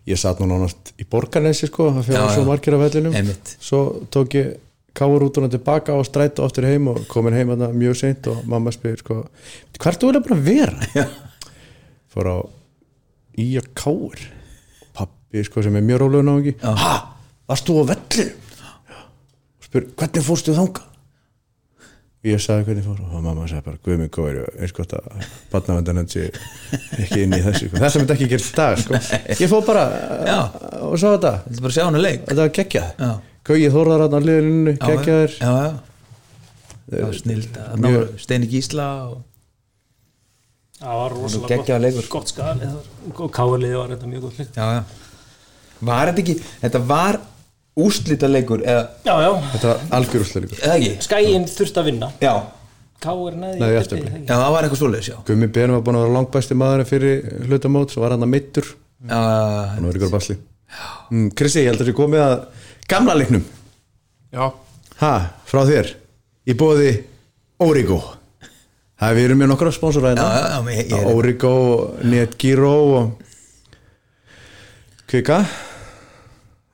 [SPEAKER 1] ég satt nú nánast í borgarnesi sko, það
[SPEAKER 3] Já,
[SPEAKER 1] fyrir
[SPEAKER 3] já.
[SPEAKER 1] svo margir af vellinum
[SPEAKER 3] einmitt
[SPEAKER 1] svo tók ég káurútuna tilbaka og strætó aftur heim og komin heim þarna mjög seint og mamma spyr sko, hvað ertu eiginlega bara að vera? fór á í að káur pappi sko sem er mjög rólega náðingi ha, varst þú á velli? og spyr, hvernig fórstu þanga? ég sagði hvernig fór og mamma sagði bara, guð minn góður eins gott að barnavendan hans ég ekki inn í þessu, sko. þetta myndi ekki gert í dag sko. ég fór bara
[SPEAKER 3] Já.
[SPEAKER 1] uh, og sá þetta
[SPEAKER 3] Þetta er bara að sjá hann að leik
[SPEAKER 1] Þetta var geggjað
[SPEAKER 3] Já.
[SPEAKER 1] Gauji Þórðar hann að liðinu,
[SPEAKER 3] Já,
[SPEAKER 1] geggjaður
[SPEAKER 3] já, já. það var snild
[SPEAKER 1] mjög-
[SPEAKER 3] Steini Gísla og...
[SPEAKER 4] Það var rosalega
[SPEAKER 3] geggjaður leikur.
[SPEAKER 4] gott skali og káliði var þetta mjög gott leik
[SPEAKER 3] já, já. var þetta ekki þetta var úslita leikur eða,
[SPEAKER 4] Já, já,
[SPEAKER 1] Þetta var algjör úrslöðleikur
[SPEAKER 3] eða ekki
[SPEAKER 4] skæin þurft að vinna
[SPEAKER 3] já,
[SPEAKER 4] Káir neði
[SPEAKER 1] Nei, í
[SPEAKER 4] eftir
[SPEAKER 1] eftirleik.
[SPEAKER 3] já, það var eitthvað svoleiðis já.
[SPEAKER 1] Gummi Ben var búin að vera langbæsti maðurinn fyrir hlutamót Svo var hann að mittur
[SPEAKER 3] Já, já, já.
[SPEAKER 1] Nú er ykkur basli mm, Kristi, ég held að þessi komið að gamla leiknum
[SPEAKER 2] Já,
[SPEAKER 1] Ha, frá þér Í bóði Origo Það við erum með nokkra spónsora
[SPEAKER 3] Já, já, já, ég- ég er-
[SPEAKER 1] hérna Origo, Netgyro og Kvika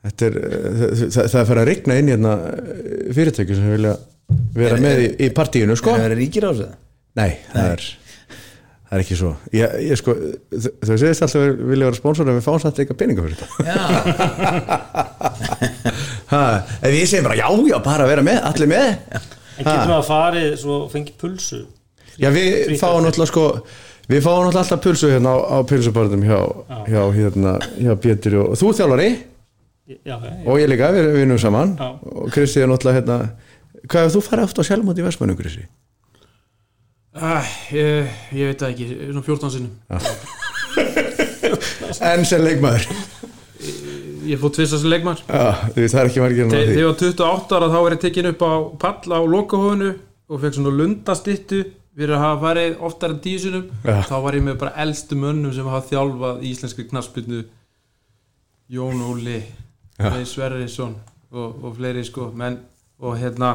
[SPEAKER 1] Þetta er, það, það, það fer að rigna inn hérna fyrirtæki sem vilja vera
[SPEAKER 3] Eh,
[SPEAKER 1] með í, í partíinu sko
[SPEAKER 3] það verið ríkir á þessu
[SPEAKER 1] Nei, það er það er ekki svo ég, ég sko, þau þau segist alltaf að vilja vera spónsor en við fáum samt eitthvað peninga fyrir þetta
[SPEAKER 3] já,
[SPEAKER 1] ha, ef ég segi bara já, já, bara vera með allir með,
[SPEAKER 4] En getum við að farið svo og fengið pulsu
[SPEAKER 1] já við fáum náttúrulega sko, við fáum náttúrulega alltaf pulsu hérna á, á pulsubarðum hjá, hjá hérna, hjá Pétur og, og þú þjálfari
[SPEAKER 4] Já, já,
[SPEAKER 1] og ég líka, við við vinnum saman
[SPEAKER 4] Já.
[SPEAKER 1] og Kristi er náttúrulega hérna hvað ef þú farið oft á sjálfmóti í Vestmannu, Kristi?
[SPEAKER 2] uh, ég, ég veit það ekki, svona 14 sinnum
[SPEAKER 1] En sem leikmaður,
[SPEAKER 2] Ég fótt tvist þessi leikmar
[SPEAKER 1] já, því það er ekki margir
[SPEAKER 2] Þe,
[SPEAKER 1] náttúrulega
[SPEAKER 2] Þegar ég var 28 ára þá er ég tekin upp á pall á lokahóðinu og fekk svona lundastittu fyrir að hafa farið oftar en tíu sinnum
[SPEAKER 1] Já.
[SPEAKER 2] þá var ég með bara elstu mönnum sem hafa þjálfað í íslenski knassbyrnu Jón Óli Frey Sverrisson og, og fleiri sko menn og hérna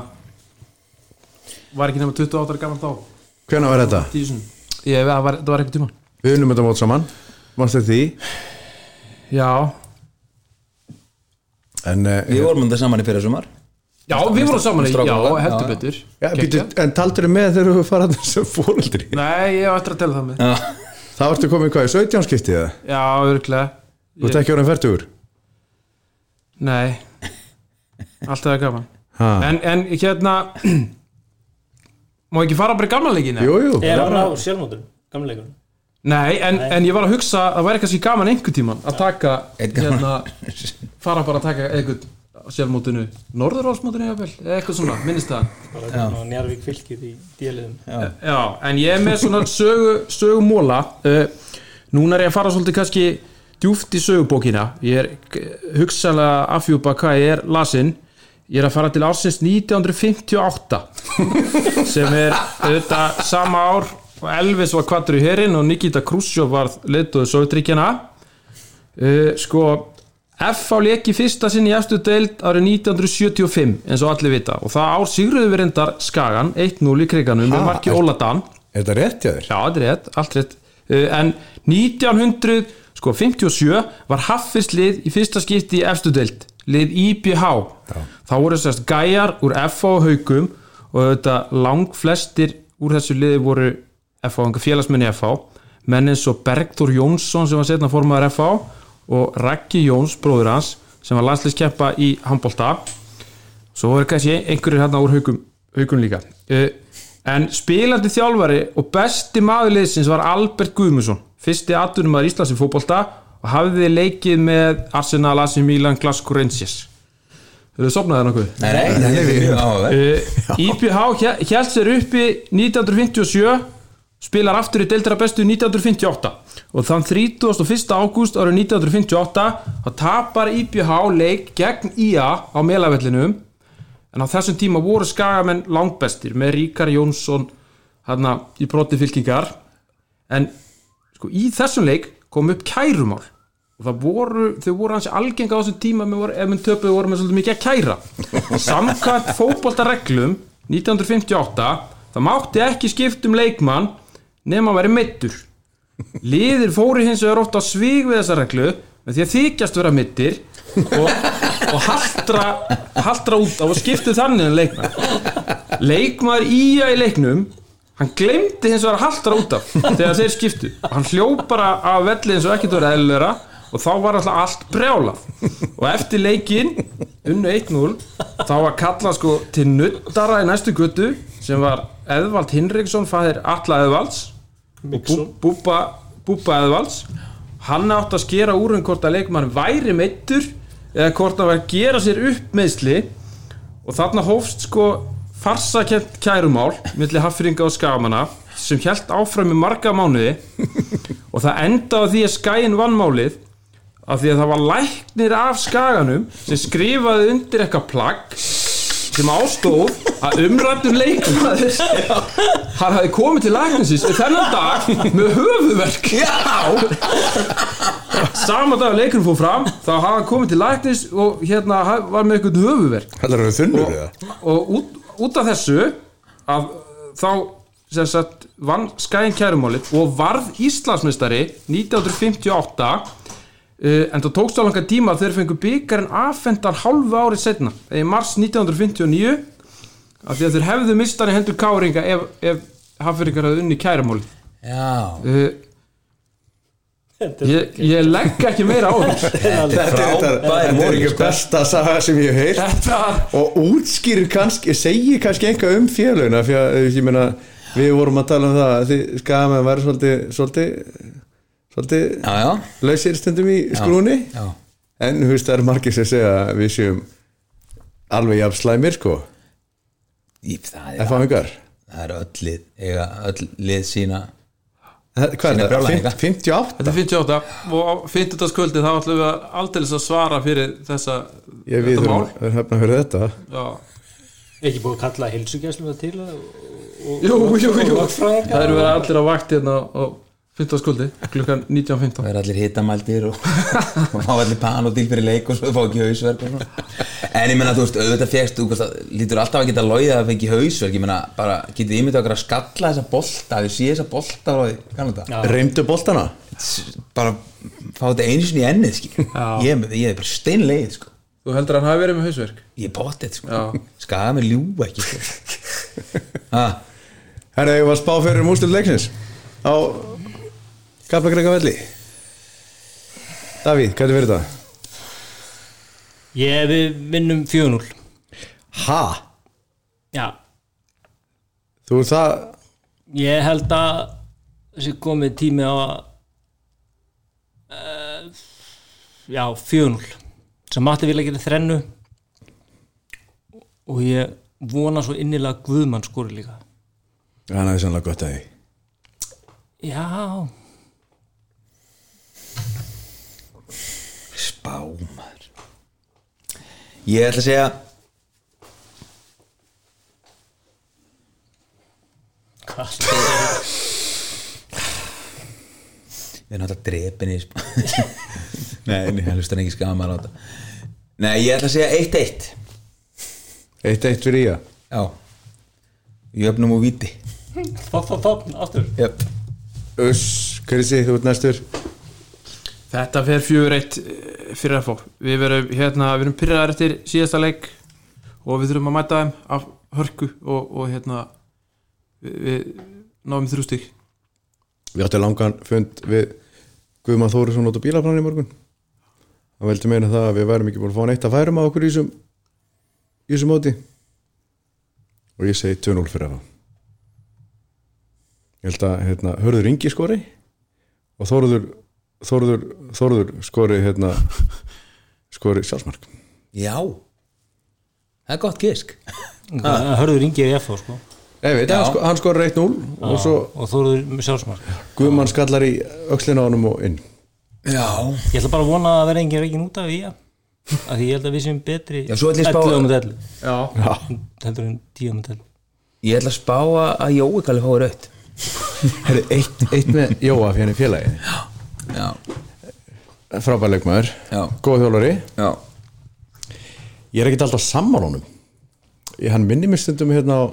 [SPEAKER 2] var ekki nema 28 ára gaman þá
[SPEAKER 1] Hvenær var þetta?
[SPEAKER 2] tíu sinnum ég, það var, það var ekki tíma
[SPEAKER 1] Við vinnum þetta mót saman, mannstu því
[SPEAKER 2] Já,
[SPEAKER 1] En, uh,
[SPEAKER 3] við vorum þetta saman í fyrir sumar
[SPEAKER 2] já við vorum saman í, já,
[SPEAKER 3] Strákar, já,
[SPEAKER 2] heldur
[SPEAKER 3] já.
[SPEAKER 2] betur
[SPEAKER 1] Já, býtu,
[SPEAKER 2] Geggjað.
[SPEAKER 1] en taldur með þegar þú farað sem fóreldri
[SPEAKER 2] Nei, ég á eftir að tella það með
[SPEAKER 3] já,
[SPEAKER 1] Það vartu komið hvað í 17 skiptið eða?
[SPEAKER 2] Já, örglega
[SPEAKER 1] Þú ert ekki orðin færtugur?
[SPEAKER 2] Nei Alltaf er gaman
[SPEAKER 1] Ha.
[SPEAKER 2] en, en hérna Má ekki fara bara í gamla leikina?
[SPEAKER 1] Jú, jú
[SPEAKER 4] Er hann á sjálfmótur, gamleikunum
[SPEAKER 2] Nei, en,
[SPEAKER 4] Nei.
[SPEAKER 2] en ég var að hugsa að það væri kannski gaman einhvern tíman að taka
[SPEAKER 3] Einn gaman.
[SPEAKER 2] hérna, fara bara að taka einhvern á sjálfmótinu, norðurálsmótinu jafnvel, eða eitthvað svona, minnist það
[SPEAKER 4] bara njárvík fylgir í díliðum
[SPEAKER 2] Já, en ég er með svona sögu, sögumóla uh, núna er ég að fara svolítið kannski djúft í sögubókina ég er eh, hugsanlega að afhjúpa hvað ég er lasinn ég er að fara til ársins 1958 sem er auðvitað sama ár og Elvis var kvattur í herin og Nikita Khrushchev var leituðu Sovjetríkjana uh, sko F á leki fyrsta sinn í eftir deild árið 1975 eins og allir vita og það ár sigruðu við reyndar Skagan 1-0 í kriganum með marki Óladan
[SPEAKER 1] Er þetta rétt hjá þér?
[SPEAKER 2] Já, þetta er rétt, allt rétt uh, En sko, 1957 var Haffis lið í fyrsta skipti í efstudeld lið IBH þá voru sérst gæjar úr FH og haukum og þetta lang flestir úr þessu liði voru FH, enga félagsmenni FH menn eins og Bergþór Jónsson sem var setna formaður FH og Raggi Jóns, bróður hans sem var landslískeppa í handbolta svo voru kannski einhverjir hérna úr haukum, haukum líka uh, en spilandi þjálfari og besti maður liðsins var Albert Guðmundsson fyrsti atvinnum maður Íslands í fótbolta og hafði leikið með Arsenal, AC Milan, Glasgow Rangers Þau sopnaði það nokkuð?
[SPEAKER 3] Nei, nei, þetta er mjög áhugaverð
[SPEAKER 2] uh, IBH hjælt sér uppi 1957 spilar aftur í deildra bestu 1958 og þann 31. ágúst árið 1958 þá tapar IBH leik gegn IA á melavellinum en á þessum tíma voru skagamenn langbestir með Ríkar Jónsson hana, í broti fylkingar en sko, í þessum leik kom upp kærumál og það voru, þau voru hans algenga á þessum tíma með voru, ef menn töpuðu voru með svolítið mikið að kæra samkvæmt fótboltareglum 1958 það mátti ekki skipta um leikmann nema að vera meittur liðir fóru hins vegar oft á svig við þessa reglu með því að þykjast vera mittir og, og haldra, haldra út á og skiptu þannig en leikmann leikmaður ía í leiknum hann glemdi hins vegar að haldra út af þegar þeir skiptu hann hljóp bara af velli eins og ekkert voru eðlera og þá var alltaf allt brjálað og eftir leikinn unnu 1-0 þá var kallað sko til nuttara í næstu guttu sem var Eðvald Hinriksson fæðir Alla Eðvalds og Bú- Búba, Búba Eðvalds hann átti að skera úr um hvort að leikmann væri meittur eða hvort að vera að gera sér upp meðsli og þarna hófst sko farsakent kærumál milli haffringa og skamanna sem hjælt áfram í marga mánuði og það endaði á því að skæin vann málið af því að það var læknir af skaganum sem skrifaði undir eitthvað plagg sem ástóð að umrættum leikmaður hann hafi komið til læknisins þennan dag með höfuverk já sama dag að leikurinn fór fram þá hafa hann komið til læknis og hérna ha- var með eitthvað höfuverk
[SPEAKER 1] Þetta er þunnur eða?
[SPEAKER 2] og út, út af þessu að þá sem sagt vann skæin kærumálið og varð Íslandsmeistari 1958 uh, eh, en það tókst á langa tíma að þeir fengu byggarinn afhendar hálfu árið setna eða í mars 1959 af því að þeir hefðu mistan í hendur káringa ef, ef hafðuringar hafði unni kærumálið
[SPEAKER 3] Já,
[SPEAKER 2] uh, ég, ég legg ekki meira á þess
[SPEAKER 1] Þetta er, þetta,
[SPEAKER 3] Frábær
[SPEAKER 1] þetta er
[SPEAKER 3] móli,
[SPEAKER 1] ekki
[SPEAKER 3] sko.
[SPEAKER 1] besta saga sem ég hef heyrt
[SPEAKER 2] þetta
[SPEAKER 1] og útskýrir kannski, segir kannski einhvað um félagina því að ég meina við vorum að tala um það að þið skama að vera svolítið svolítið, svolítið
[SPEAKER 3] já, já,
[SPEAKER 1] lausir stundum í skrúni
[SPEAKER 3] já.
[SPEAKER 1] en þú veist það eru margir sem segja að við séum alveg jafn slæmir sko
[SPEAKER 3] Í, það, er,
[SPEAKER 1] ef að hengar
[SPEAKER 3] það er öll lið eiga öll lið sína
[SPEAKER 1] hvað
[SPEAKER 3] Sýna
[SPEAKER 1] er það,
[SPEAKER 3] brjálæðinga.
[SPEAKER 1] Fimm- 58
[SPEAKER 2] Þetta er 58 og 50. skvöldi þá ætlum við að aldeilis að svara fyrir þessa
[SPEAKER 1] ég við
[SPEAKER 2] þetta
[SPEAKER 1] höfum
[SPEAKER 2] mál.
[SPEAKER 1] höfum höfum höfum þetta
[SPEAKER 2] Já.
[SPEAKER 4] Ekki búið að kalla heilsugjæslu til það
[SPEAKER 2] Jú, jú, jú
[SPEAKER 4] Lögfræðingar.
[SPEAKER 2] Það eru verið allir á vakt hérna á 15. skvöldi klukkan 19.15
[SPEAKER 3] það er allir hitamældir og, og fá allir pan og dýl fyrir leik og svo fá ekki hausverk og svona. en ég meina þú veist, auðvitað fegst þú veist, það lítur alltaf að geta logið að fengi hausverk ég meina bara, getið ímyndið okkur að skalla þessa bolta, að við séð þessa bolta frá því, kannan þetta
[SPEAKER 1] reymdu boltana
[SPEAKER 3] bara fá þetta einu sinni í ennið skil. ég, ég er bara steinlegið sko.
[SPEAKER 2] Þú heldur að hann hafi verið með hausverk
[SPEAKER 3] ég er potið sko.
[SPEAKER 2] Já.
[SPEAKER 3] skaga mig ljúa ekki sko. ha,
[SPEAKER 1] herra ég var spá fyrir mústil leiksins á Kaplagreika velli Davíð, hvað er verið það?
[SPEAKER 4] Ég við vinnum 4-0
[SPEAKER 1] Ha?
[SPEAKER 4] Já,
[SPEAKER 1] Þú er það
[SPEAKER 4] ég held að þessi komið tími á að já, 4-0 sem Matti vilja gera þrennu og ég vona svo innilega að Guðmann skori líka
[SPEAKER 1] Hann hafði sannlega gott að því
[SPEAKER 4] Já,
[SPEAKER 3] Spámar Ég ætla að segja
[SPEAKER 4] hvað
[SPEAKER 3] Við erum alltaf drepin í spá Nei, ég hlustar ekki skamar á þetta Nei, ég ætla að segja 1-1
[SPEAKER 1] Eitt eitt fyrir ég
[SPEAKER 3] Já Jöfnum og viti
[SPEAKER 4] Fopp, fopp, fopp, aftur
[SPEAKER 3] Jöfn
[SPEAKER 1] Uss, Krissi, þú ert næstur
[SPEAKER 2] Þetta fer fjögur eitt eh, fyrir að fá Við verum, hérna, við erum pyrraðar eftir síðasta leik og við þurfum að mæta þeim af hörku og, og hérna við, við náum í þrjú stík
[SPEAKER 1] Við áttum langan fund við Guðmann Þórisson út á bílaplan í morgun Hann veldi meina það að við værum ekki búin að fá neitt að færum á okkur í þessum í þessum móti og ég segi 2-0 fyrir að fá Ég held að hérna, Hörður Ingi skori og Þóruður Þóruður, Þóruður skori hérna, skori sjálfsmark
[SPEAKER 3] Já Það er gott gisk
[SPEAKER 4] Það eh, hörður yngir í FH sko
[SPEAKER 1] Ég veit, hann, sko, hann skori 1-0 og svo
[SPEAKER 4] og Þóruður með sjálfsmark
[SPEAKER 1] Guðmann skallar í öxlina á honum og inn
[SPEAKER 3] Já
[SPEAKER 4] Ég ætla bara að vona að vera engin reikin út af í að því ég held að við séum betri
[SPEAKER 3] Já, svo ætla ég að spá-
[SPEAKER 4] 11 um 11
[SPEAKER 2] Já,
[SPEAKER 1] Já,
[SPEAKER 4] heldur en 10 um 11
[SPEAKER 3] Ég ætla að spá að- að Jói kalli fáið raut
[SPEAKER 1] herri, eitt, eitt með Jóa hérna fyrir henni félagi
[SPEAKER 3] Já
[SPEAKER 1] frábær leikmaður,
[SPEAKER 3] Já.
[SPEAKER 1] góð þjólari
[SPEAKER 3] Já
[SPEAKER 1] ég er ekkert alltaf sammál honum ég, hann minni mér stundum hérna á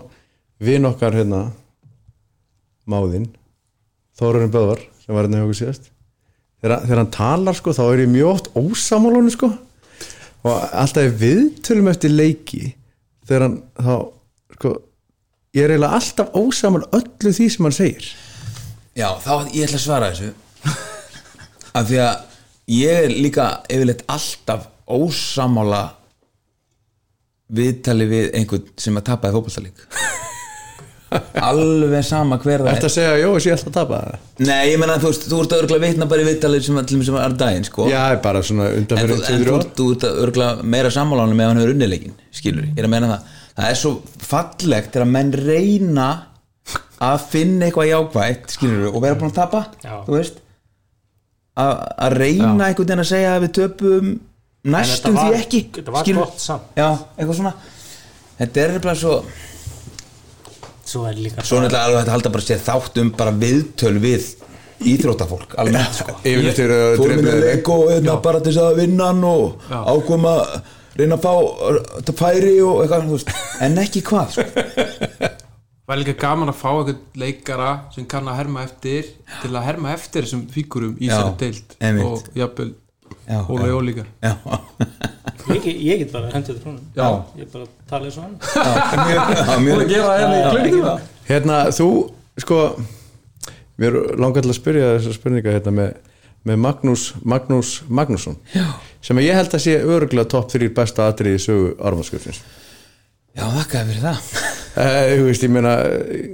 [SPEAKER 1] vin okkar hérna máðinn Þórarinn Böðvar sem var hérna hjá okkur síðast þegar, þegar hann talar sko þá er ég mjög oft ósammál honum sko og alltaf í viðtölum eftir leiki þegar hann þá sko ég er eiginlega alltaf ósammál öllu því sem hann segir
[SPEAKER 3] Já, þá ég ætla að svara þessu Af því að ég er líka yfirleitt alltaf ósamála viðtali við einhvern sem að tapaði fótballtalík Alveg sama hver það er
[SPEAKER 1] Þetta segja að Jói sé alltaf að tapa það
[SPEAKER 3] Nei, ég meina þú veist, þú ert að örgla vitna bara í viðtalið sem allir sem er daginn, sko
[SPEAKER 1] Já, bara svona
[SPEAKER 3] En, þú,
[SPEAKER 1] undanferðin
[SPEAKER 3] en þú, ert- þú ert að örgla meira sammálanum með hann hefur unnileikin, skilur ég er að meina það, það er svo fallegt þegar menn reyna að finna eitthvað jákvætt, skilur og vera búin að tapa,
[SPEAKER 4] Já.
[SPEAKER 3] þú veist að að reyna einhvern veginn að segja að við töpum næstum
[SPEAKER 4] En
[SPEAKER 3] því
[SPEAKER 4] þetta var-
[SPEAKER 3] ekki
[SPEAKER 4] þetta var
[SPEAKER 3] skilurðu.
[SPEAKER 4] gott samt.
[SPEAKER 3] já, eitthvað svona þetta er bara svo
[SPEAKER 4] svo er líka
[SPEAKER 3] svo náttúrulega alveg þetta halda bara sér þátt um bara viðtöl við íþróttafólk alveg sko
[SPEAKER 1] Yfirleitt eru að
[SPEAKER 3] fórum inn
[SPEAKER 1] drepa
[SPEAKER 3] að
[SPEAKER 1] þeir
[SPEAKER 3] leik og hérna, bara til þess að vinna hann og
[SPEAKER 2] Já.
[SPEAKER 3] ákveðum að reyna að fá þetta færi og eitthvað þú veist. en ekki hvað sko.
[SPEAKER 2] var líka gaman að fá eitthvað leikara sem kann að herma eftir til að herma eftir þessum fíkurum í
[SPEAKER 3] Já,
[SPEAKER 2] sér deild
[SPEAKER 3] einmitt.
[SPEAKER 2] og jafnvel
[SPEAKER 3] já,
[SPEAKER 2] og við ólíka
[SPEAKER 3] já,
[SPEAKER 4] ég, get- ég get bara hendur trónum
[SPEAKER 2] Já,
[SPEAKER 4] ég bara tala eins og hann
[SPEAKER 3] já, mjög, já,
[SPEAKER 2] búin að
[SPEAKER 3] mjög,
[SPEAKER 2] gera það hérna í klönginu
[SPEAKER 1] Hérna, þú, sko mér langar til að spyrja þessar spurningar hérna með, með Magnús, Magnús Magnússon Já. sem að ég held að sé örgulega topp þrýr besta atriði í sögu armaskjöfnins
[SPEAKER 3] já þakkaði fyrir það
[SPEAKER 1] Eh, Þú veist, ég meina eh,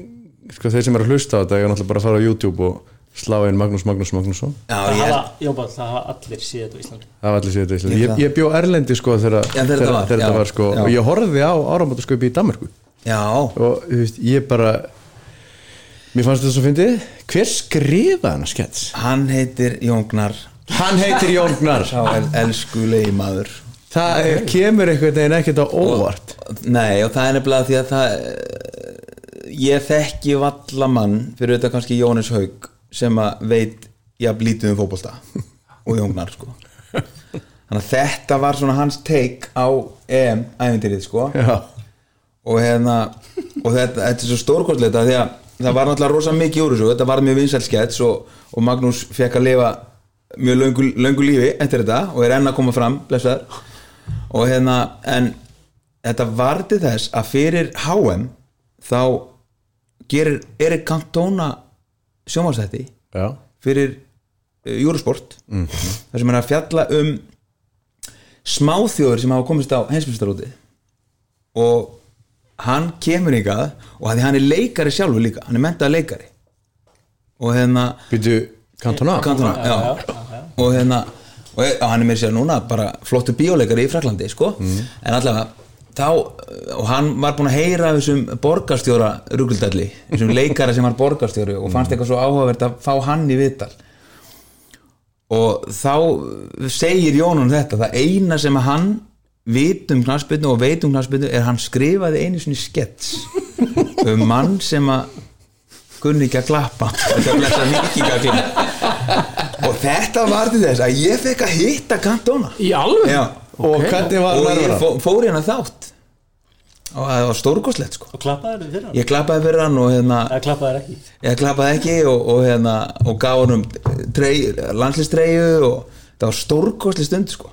[SPEAKER 1] sko, þeir sem eru að hlusta á þetta, ég er náttúrulega bara að fara á YouTube og slá inn Magnús Magnús Magnússon
[SPEAKER 3] já,
[SPEAKER 4] það
[SPEAKER 3] ég,
[SPEAKER 4] hafa, já, bara, það hafa allir séð þetta á Íslandi
[SPEAKER 1] Það var allir sér þetta Ísland.
[SPEAKER 3] Ég
[SPEAKER 1] Ég,
[SPEAKER 3] það.
[SPEAKER 1] ég bjó Erlendi sko þegar
[SPEAKER 3] Já, þegar þetta var,
[SPEAKER 1] þegar
[SPEAKER 3] já,
[SPEAKER 1] þetta var sko
[SPEAKER 3] já.
[SPEAKER 1] og ég horfði á áramótasköpi í Danmarku
[SPEAKER 3] já,
[SPEAKER 1] og þú veist, ég bara mér fannst þetta svo fyndið hver skrifaði hann að skets?
[SPEAKER 3] hann heitir Jóngnar
[SPEAKER 1] Hann heitir Jóngnar
[SPEAKER 3] sá el, elskulegi maður
[SPEAKER 1] Það er, kemur einhvern veginn ekkert á óvart
[SPEAKER 3] nei og það er nefnilega því að það eh, ég þekki valla mann fyrir þetta kannski Jónis Haug sem að veit jafn lítið um fótbolta og Jóngnar sko þannig að þetta var svona hans take á EM æfintirið sko
[SPEAKER 1] Já,
[SPEAKER 3] og hérna og þetta, þetta er svo stórkostleita því að það var náttúrulega rosa mikið úr þessu þetta var mjög vinsælskets og, og Magnús fekk að lifa mjög löngu, löngu lífi eftir þetta og er enn að koma fram blessaður og hérna en þetta varði þess að fyrir HM þá gerir Erik Cantona sjónvarsætti
[SPEAKER 1] já,
[SPEAKER 3] fyrir Júrusport þar sem hann er að fjalla um smáþjóður sem hafa komist á hensmjöstarúti og hann kemur ykkar og að því hann er leikari sjálfur líka, hann er mentað leikari og hérna
[SPEAKER 1] Býtu Cantona
[SPEAKER 3] Cantona, já, og hérna og e- hann er mér sér núna bara flottu bíóleikari í Fraklandi sko. en allavega þá, og hann var búin að heyra af þessum borgarstjóra ruguldalli, þessum leikara sem var borgarstjóri og fannst eitthvað svo áhugavert að fá hann í vital og þá segir Jónun þetta, það eina sem hann vit um knarsbyrnu og veit um knarsbyrnu er hann skrifaði einu sinni skets um mann sem að kunni ekki að klappa þetta er blessa mikigaglappa og þetta var til þess að ég fekk að hitta Cantona
[SPEAKER 2] Í alveg?
[SPEAKER 3] Já,
[SPEAKER 1] Og hvernig var
[SPEAKER 3] og
[SPEAKER 1] hann
[SPEAKER 3] ég
[SPEAKER 1] að
[SPEAKER 3] fó, fór hérna þátt og það var stórkoslegt sko
[SPEAKER 4] og klappaði þér fyrir hann
[SPEAKER 3] ég klappaði fyrir hann og hérna
[SPEAKER 4] eða klappaði þér ekki
[SPEAKER 3] ég klappaði ekki og, og hérna og gaf honum trey, landslistreiðu og það var stórkosli stund sko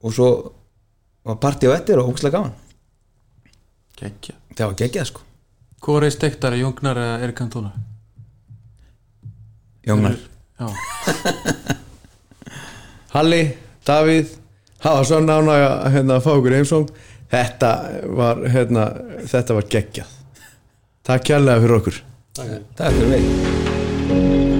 [SPEAKER 3] og svo var partí á ettir og ógustlega gaman
[SPEAKER 2] Kekja
[SPEAKER 3] það var geggjað sko
[SPEAKER 2] Hvor er stektara, Jóngnar eða Erik Cantona?
[SPEAKER 3] Jónar
[SPEAKER 2] Já,
[SPEAKER 1] Halli, Davíð hafa svo nána að hérna, fá ykkur heimsóng þetta var hérna, þetta var geggjað Takk kærlega fyrir okkur
[SPEAKER 4] Takk fyrir.
[SPEAKER 3] Takk fyrir mig